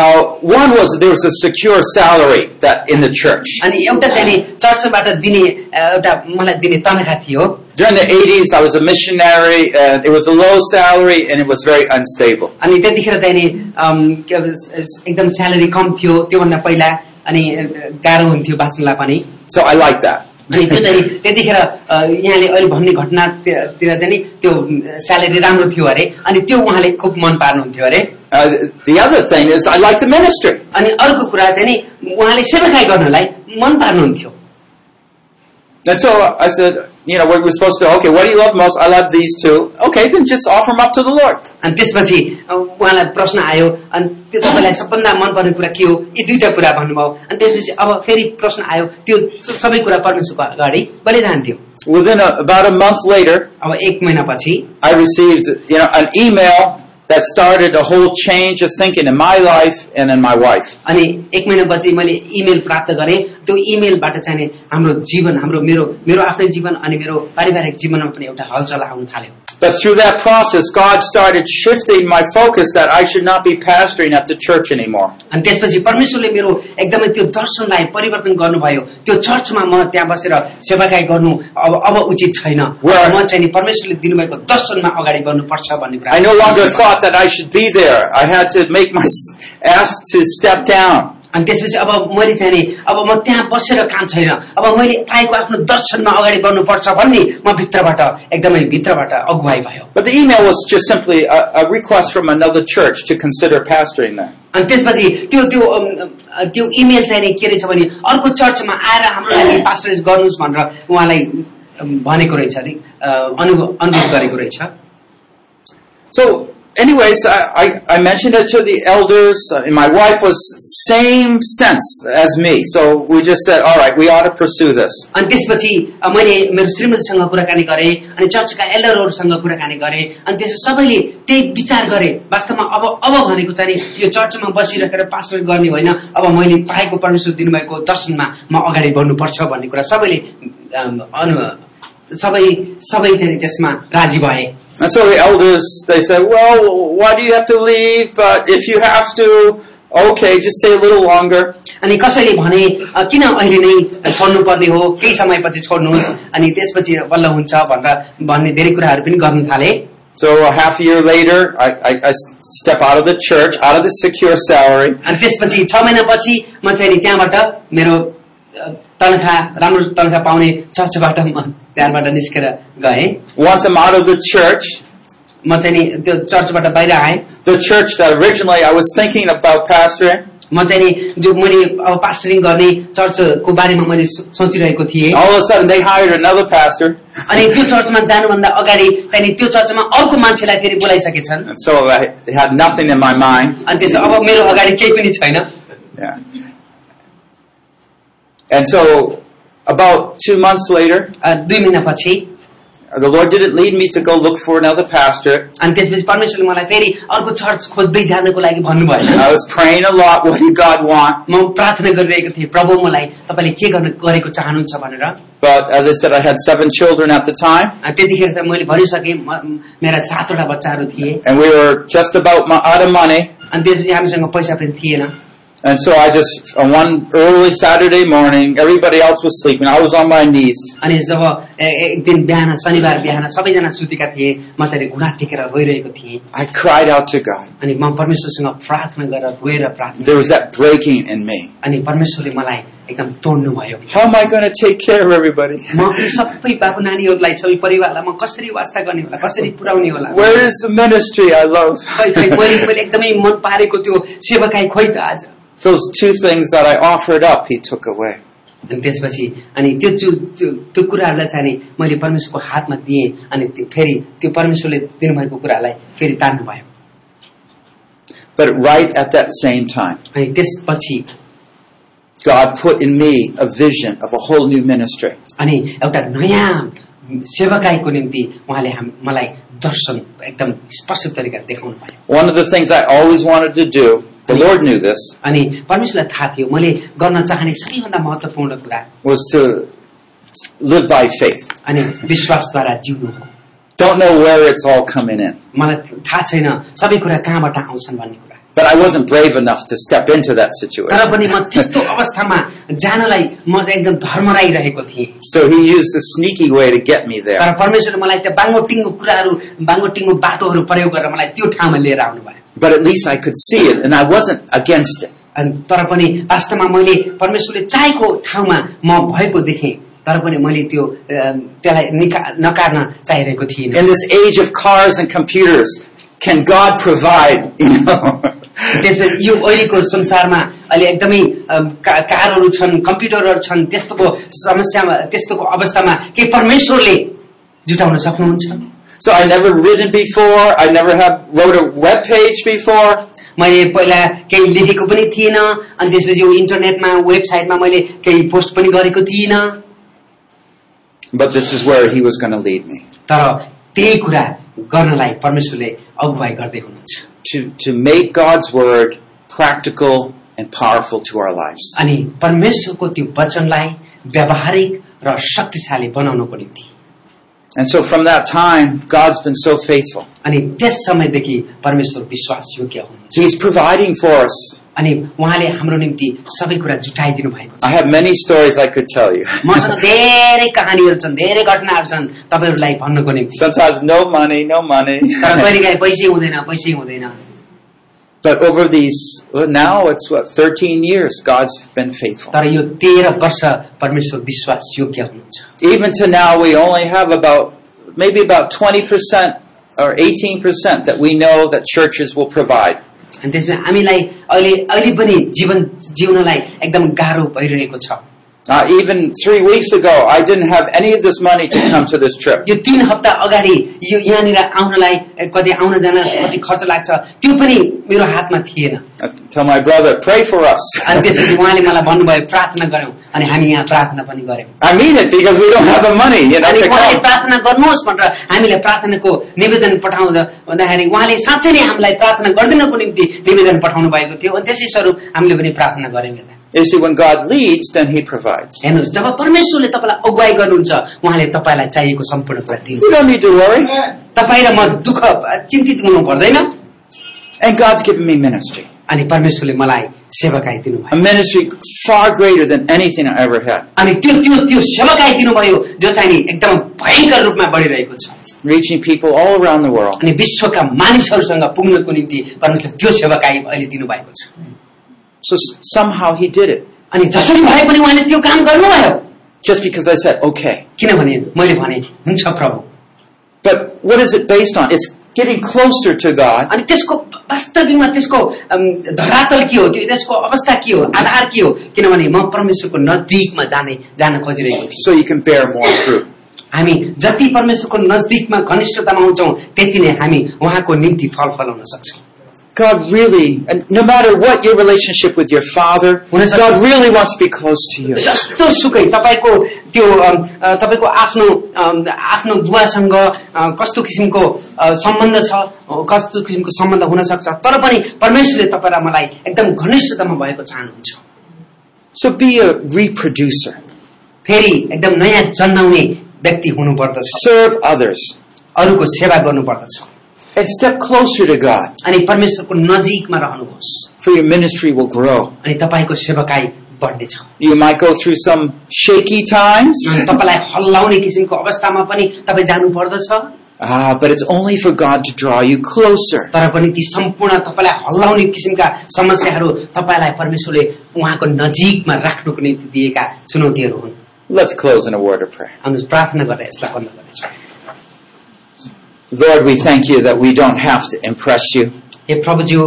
Uh, one was there was a secure salary that in the church अनि एउटा चाहिँ नि चर्चबाट दिने अ, एउटा मलाई दिने तनखा थियो during the 80s. I was a missionary, and it was a low salary, and it was very unstable. अनि त्यतिखेर चाहिँ नि अम, के भन्छ, एकदम स्यालेरी कम थियो त्योभन्दा पहिला अनि अ, गाह्रो हुन्थ्यो बाँच्नलाई पनि So I like that. अनि त्यो चाहिँ त्यतिखेर अ, यहाँले अहिले भन्ने घटनातिर चाहिँ नि त्यो स्यालेरी राम्रो थियो अरे अनि त्यो उहाँले खुब मन पार्नुहुन्थ्यो अरे Uh, the other thing is I like the ministry. अनि अर्को कुरा चाहिँ नि उहाँले सेवाकाई गर्नलाई मन पार्नुहुन्थ्यो And so I said, you know, we we're supposed to, okay, what do you love most? I love these two. Okay, then just offer them up to the Lord. अनि त्यसपछि अ, उहाँलाई प्रश्न आयो अनि त्यो तपाईँलाई सबभन्दा मनपर्ने कुरा के हो यी दुईटा कुरा भन्नुभयो अनि त्यसपछि अब फेरि प्रश्न आयो त्यो स- सबै कुरा परमेश्वरको अगाडि बलिरहन्थ्यो Within a, about a month later, अब एक महिनापछि I received, you know, an email that started a whole change of thinking in my life and in my wife. अनि एक महिनापछि मैले इमेल प्राप्त गरेँ त्यो इमेलबाट चाहिँ नि हाम्रो जीवन हाम्रो मेरो मेरो आफ्नै जीवन अनि मेरो पारिवारिक जीवनमा पनि एउटा हलचल आउन थाल्यो But through that process, God started shifting my focus that I should not be pastoring at the church anymore. अनि त्यसपछि परमेश्वरले मेरो एकदमै त्यो दर्शनलाई परिवर्तन गर्नुभयो त्यो चर्चमा म त्यहाँ बसेर सेवाकाई गर्नु अब अब उचित छैन Right. म चाहिँ नि परमेश्वरले दिनुभएको दर्शनमा अगाडि बढ्नुपर्छ भन्ने कुरा I no longer thought that I should be there. I had to make my ask to step down. अनि त्यसपछि अब मैले चाहिँ नि अब म त्यहाँ बसेर काम छैन अब मैले पाएको आफ्नो दर्शनमा अगाडि बढ्नुपर्छ भन्ने म भित्रबाट एकदमै भित्रबाट अगुवाई भयो But the email was just simply a, a request from another church to consider pastoring there. अनि त्यसपछि त्यो त्यो अम, अम, त्यो इमेल चाहिँ नि के रहेछ भने अर्को चर्चमा आएर हाम्रो लागि पास्टरेज गर्नुहोस् भनेर उहाँलाई अम, भनेको रहेछ नि अ, अनुभव अनुभव गरेको रहेछ So, anyways, I, I, I mentioned it to the elders, uh, and my wife was same sense as me. So we just said, all right, we ought to pursue this. अनि त्यसपछि अ, मैले मेरो श्रीमतीसँग कुराकानी गरेँ अनि चर्चका एल्डरहरूसँग कुराकानी गरेँ अनि त्यसो सबैले त्यही विचार गरे वास्तवमा अब अब भनेको चाहिँ नि यो चर्चमा बसिराखेर पास्टर गर्ने होइन अब मैले पाएको परमेश्वर दिनुभएको दर्शनमा म अगाडि बढ्नुपर्छ भन्ने कुरा सबैले अम, अनु सबै सबै चाहिँ नि त्यसमा राजी भए And so the elders, they said, well, why do you have to leave? But if you have to, okay, just stay a little longer. अनि कसैले भने "अ, किन अहिले नै छोड्नु पर्ने हो केही समयपछि छोड्नुहोस् अनि त्यसपछि बल्ल हुन्छ भनेर भन्ने धेरै कुराहरू पनि गर्न थाले So a half year later, I, I, I step out of the church, out of the secure salary, अनि त्यसपछि छ महिनापछि म चाहिँ नि त्यहाँबाट मेरो अ, तनखा राम्रो तनखा पाउने चर्चबाट म त्यहाँबाट निस्केर गएँ once I'm out of the church, म चाहिँ नि त्यो चर्चबाट बाहिर आएँ the church that originally I was thinking about pastoring, म चाहिँ नि जो मैले अब पास्टरिङ गर्ने चर्चको बारेमा मैले सो- सोचिरहेको थिएँ all of a sudden they hired another pastor. अनि त्यो चर्चमा जानुभन्दा अगाडि त्यहाँदेखि त्यो चर्चमा अर्को मान्छेलाई फेरि बोलाइसकेछन् And so I had nothing in my mind. अनि त्यसो अब मेरो अगाडि केही पनि छैन Yeah. And so about two months later, अ, दुई महिनापछि the Lord didn't lead me to go look for another pastor. अनि त्यसपछि परमेश्वरले मलाई फेरि अर्को चर्च खोज्दै जानको लागि भन्नुभयो I was praying a lot, what did God want? म प्रार्थना गरिरहेको थिएँ प्रभु मलाई तपाईँले के गर्नु गरेको चाहनुहुन्छ भनेर But as I said, I had seven children at the time, अनि त्यतिखेर चाहिँ मैले भनिसकेँ म- म- मेरा सातवटा बच्चाहरू थिए and we were just about mo- out of money. अनि त्यसपछि हामीसँग पैसा पनि थिएन And so I just, on one early Saturday morning, everybody else was sleeping. I was on my knees. अनि जब ए- एक दिन बिहान शनिबार बिहान सबैजना सुतेका थिए म चाहिँ घुँडा टेकेर रोइरहेको थिएँ I cried out to God. अनि म परमेश्वरसँग प्रार्थना गरेर रोएर प्रार्थना There was that breaking in me. अनि परमेश्वरले मलाई एकदम तोड्नुभयो How am I going to take care of everybody? म यी सबै बाबु नानीहरूलाई सबै परिवारलाई म कसरी वास्ता गर्ने होला कसरी पुर्याउने होला Where is the ministry I love? खै खै मैले मैले एकदमै मन पारेको त्यो सेवाकाई खोइ त आज Those two things that I offered up, he took away. अनि त्यसपछि अनि त्यो चु- त्यो- त्यो कुराहरूलाई चाहिँ नि मैले परमेश्वरको हातमा दिएँ अनि त्यो फेरि त्यो परमेश्वरले दिनुभएको कुरालाई फेरि तान्नुभयो But right at that same time, अनि त्यसपछि God put in me a vision of a whole new ministry. अनि एउटा नयाँ सेवाकाईको निम्ति उहाँले हाम- मलाई दर्शन एकदम स्पष्ट तरिकाले देखाउनु भयो One of the things I always wanted to do, the Lord knew this, अनि परमेश्वरलाई थाहा थियो मैले गर्न चाहने सबैभन्दा महत्वपूर्ण कुरा was to live by faith. अनि विश्वासद्वारा जिउनु हो Don't know where it's all coming in. मलाई थाहा छैन सबै कुरा कहाँबाट आउँछन् भन्ने कुरा But I wasn't brave enough to step into that तर situation. पनि म त्यस्तो अवस्थामा जानलाई म चाहिँ एकदम धर्मराइरहेको थिएँ So he used a sneaky way to get me there. तर परमेश्वरले मलाई त्यो बाङ्गो टिङ्गो कुराहरू बाङ्गो टिङ्गो बाटोहरू प्रयोग गरेर मलाई त्यो ठाउँमा लिएर आउनुभयो But at least I could see it, and I wasn't against it. अनि तर पनि वास्तवमा मैले परमेश्वरले चाहेको ठाउँमा म भएको देखेँ तर पनि मैले त्यो अम, त्यसलाई निका- नकार्न चाहिरहेको थिइनँ In this age of cars and computers, can God provide? You know, त्यसपछि यो अहिलेको संसारमा अहिले एकदमै अम, का- कारहरू छन् कम्प्युटरहरू छन् त्यस्तोको समस्यामा त्यस्तोको अवस्थामा के परमेश्वरले जुटाउन सक्नुहुन्छ so I never written before. I never have wrote a web page before. मैले पहिला केही लेखेको पनि थिएन अनि त्यसपछि यो इन्टरनेटमा वेबसाइटमा मैले केही पोस्ट पनि गरेको थिइनँ But this is where he was going to lead me तर त्यही कुरा गर्नलाई परमेश्वरले अगुवाई गर्दै हुनुहुन्छ to to make God's word practical and powerful to our lives. अनि परमेश्वरको त्यो वचनलाई व्यावहारिक र शक्तिशाली बनाउनको निम्ति And so from that time, God's been so faithful. अनि त्यस समयदेखि परमेश्वर विश्वास योग्य हुनुहुन्छ He's providing for us. अनि उहाँले हाम्रो निम्ति सबै कुरा जुटाइदिनु भएको छ I have many stories I could tell you. मसँग धेरै कहानीहरू छन् धेरै घटनाहरू छन् तपाईँहरूलाई भन्नको निम्ति Sometimes no money, no money. तर कहिलेकाहीँ पैसै हुँदैन पैसै हुँदैन But over these, well, now it's what, 13 years, God's been faithful. तर यो तेह्र वर्ष परमेश्वर विश्वास योग्य हुनुहुन्छ Even to now, we only have about, maybe about 20% or 18% that we know that churches will provide. अनि त्यसमा हामीलाई अहिले अहिले पनि जीवन जिउनलाई एकदम गाह्रो भइरहेको छ Uh, even three weeks ago, I didn't have any of this money to come to this trip. यो तीन हप्ता अगाडि यो यहाँनिर आउनलाई ए, कति आउन जान कति खर्च लाग्छ त्यो पनि मेरो हातमा थिएन I tell my brother, pray for us. अनि त्यसपछि उहाँले मलाई भन्नुभयो प्रार्थना गऱ्यौँ अनि हामी यहाँ प्रार्थना पनि गऱ्यौँ I mean it because we don't have the money, you know, अनि to उहाँले come. प्रार्थना गर्नुहोस् भनेर हामीले प्रार्थनाको निवेदन पठाउँदा भन्दाखेरि उहाँले साँच्चै नै हामीलाई प्रार्थना गरिदिनको निम्ति निवेदन पठाउनु भएको थियो अनि त्यसै स्वरूप हामीले पनि प्रार्थना गऱ्यौँ यता You see, when God leads, then He provides. हेर्नुहोस् जब परमेश्वरले तपाईँलाई अगुवाई गर्नुहुन्छ उहाँले तपाईँलाई चाहिएको सम्पूर्ण कुरा दिनु You don't need to worry. तपाईँ र म दुःख चिन्तित हुनु पर्दैन And God's given me ministry. अनि परमेश्वरले मलाई सेवकाई दिनुभयो A ministry far greater than anything I ever had. अनि त्यो त्यो त्यो सेवकाई दिनुभयो जो चाहिँ नि एकदम भयङ्कर रूपमा बढिरहेको छ Reaching people all around the world. अनि विश्वका मानिसहरूसँग पुग्नको निम्ति परमेश्वर त्यो सेवकाई अहिले दिनुभएको छ So s- somehow He did it. अनि जसरी भए पनि उहाँले त्यो काम गर्नुभयो Just because I said, okay. किनभने मैले भने हुन्छ प्रभु But what is it based on? It's getting closer to God अनि त्यसको वास्तविकमा त्यसको अम, धरातल के हो त्यो त्यसको अवस्था के हो आधार के हो किनभने म परमेश्वरको नजिकमा जाने जान खोजिरहेको थिएँ so you can bear more fruit. हामी जति परमेश्वरको नजदिकमा घनिष्ठतामा आउँछौँ त्यति नै हामी उहाँको निम्ति फल फलाउन सक्छौँ God really, and no matter what your relationship with your father, What is that? God really wants to be close to you. जस्तो सुकै तपाईँको त्यो अम, अ, तपाईँको आफ्नो अम, आफ्नो बुवासँग अ, कस्तो किसिमको अ, सम्बन्ध छ अ, कस्तो किसिमको सम्बन्ध हुन सक्छ तर पनि परमेश्वरले तपाईँ र मलाई एकदम घनिष्ठतामा भएको चाहनुहुन्छ So be a reproducer. फेरि एकदम नयाँ जन्माउने व्यक्ति हुनुपर्दछ Serve others. अरूको सेवा गर्नुपर्दछ And step closer to God, अनि परमेश्वरको नजिकमा रहनुहोस् for your ministry will grow. अनि तपाईँको सेवकाई बढ्नेछ You might go through some shaky times, अनि तपाईँलाई हल्लाउने किसिमको अवस्थामा पनि तपाईँ जानु पर्दछ ah, but it's only for God to draw you closer. तर पनि ती सम्पूर्ण तपाईँलाई हल्लाउने किसिमका समस्याहरू तपाईँलाई परमेश्वरले उहाँको नजिकमा राख्नुको निम्ति दिएका चुनौतीहरू हुन् Let's close in a word of prayer. आउनुहोस् प्रार्थना गरेर यसलाई बन्द गर्नेछ Lord, we thank you that we don't have to impress you. हे प्रभुज्यू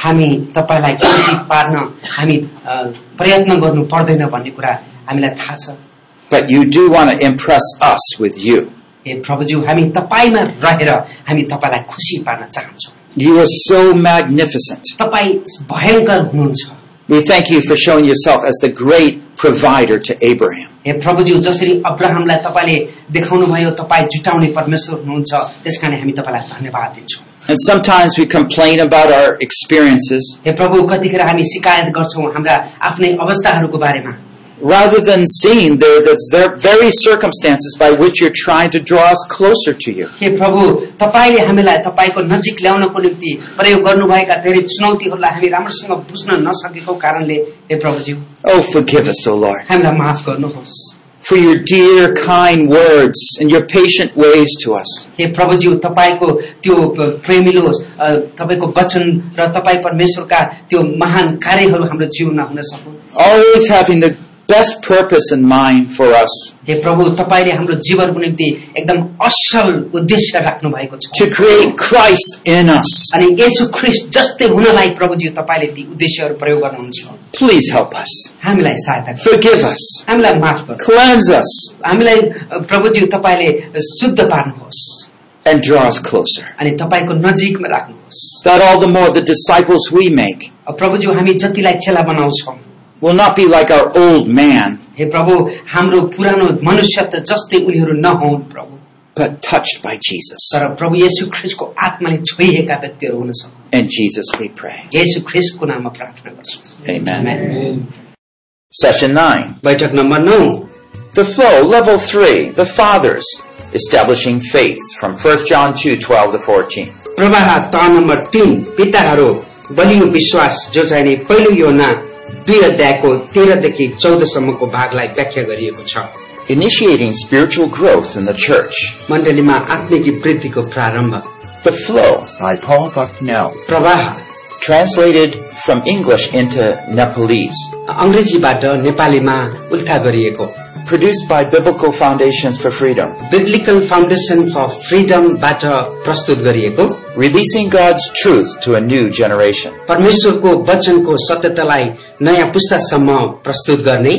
हामी तपाईँलाई खुसी पार्न हामी अ, प्रयत्न गर्नु पर्दैन भन्ने कुरा हामीलाई थाहा छ But you do want to impress us with you. हे प्रभुज्यू हामी तपाईँमा रहेर हामी तपाईँलाई खुसी पार्न चाहन्छौँ You are so magnificent. तपाईँ भयङ्कर हुनुहुन्छ We thank you for showing yourself as the great provider to Abraham. हे प्रभुज्यू जसरी अब्राहमलाई तपाईँले देखाउनुभयो तपाईँ जुटाउने परमेश्वर हुनुहुन्छ त्यस कारण हामी तपाईँलाई धन्यवाद दिन्छौँ And sometimes we complain about our experiences, हे प्रभु कतिखेर हामी शिकायत गर्छौँ हाम्रा आफ्नै अवस्थाहरूको बारेमा rather than seeing the, the their very circumstances by which you're trying to draw us closer to you. हे प्रभु तपाईँले हामीलाई तपाईँको नजिक ल्याउनको निम्ति प्रयोग गर्नुभएका धेरै चुनौतीहरूलाई हामी राम्रोसँग बुझ्न नसकेको कारणले हे प्रभुज्यू Oh, forgive us, O Lord, हामीलाई माफ गर्नुहोस् for your dear, kind words and your patient ways to us. हे प्रभुज्यू तपाईँको त्यो प- प्रेमिलो अ, तपाईँको वचन र तपाईँ परमेश्वरका त्यो महान कार्यहरू हाम्रो जीवनमा हुन सकुन् Always having the best purpose in mind for us हे प्रभु तपाईँले हाम्रो जीवनको निम्ति एकदम असल उद्देश्य राख्नु भएको छ to create Christ in us. अनि यसो ख्रिस्ट जस्तै हुनलाई प्रभुज्यू तपाईँले ती उद्देश्यहरू प्रयोग गर्नुहुन्छ Please help us. हामीलाई सहायता गर्नु Forgive us. हामीलाई माफ गर्नु Cleanse us हामीलाई अ, प्रभुज्यू तपाईँले शुद्ध पार्नुहोस् and draw us closer. अनि तपाईँको नजिकमा राख्नुहोस् That all the more the disciples we make अ, प्रभुज्यू हामी जतिलाई चेला बनाउँछौँ will not be like our old man, हे प्रभु हाम्रो पुरानो मनुष्य त जस्तै उनीहरू नहौन् प्रभु but touched by Jesus. तर प्रभु येशू ख्रिस्टको आत्माले छोइएका व्यक्तिहरू हुन सक्नु In Jesus we pray. येशू ख्रिस्टको नाममा प्रार्थना गर्छु Amen. Amen. Session 9. बैठक नम्बर नौ The flow, level 3, the fathers, establishing faith from 1 John 2, 12 to 14. प्रवाह तह नम्बर तीन पिताहरू बलियो विश्वास जो चाहिने पहिलो योना दुई अध्यायको तेह्रदेखि चौधसम्मको भागलाई व्याख्या गरिएको छ Initiating spiritual growth in the church. मण्डलीमा आत्मिक वृद्धिको प्रारम्भ The flow by Paul Bucknell. प्रवाह Translated from English into Nepalese. अंग्रेजीबाट नेपालीमा उल्था गरिएको Produced by Biblical Foundations for Freedom. Biblical foundation for फ्रिडमबाट प्रस्तुत गरिएको Releasing God's truth to a new generation. परमेश्वरको वचनको सत्यतालाई नयाँ पुस्तासम्म प्रस्तुत गर्ने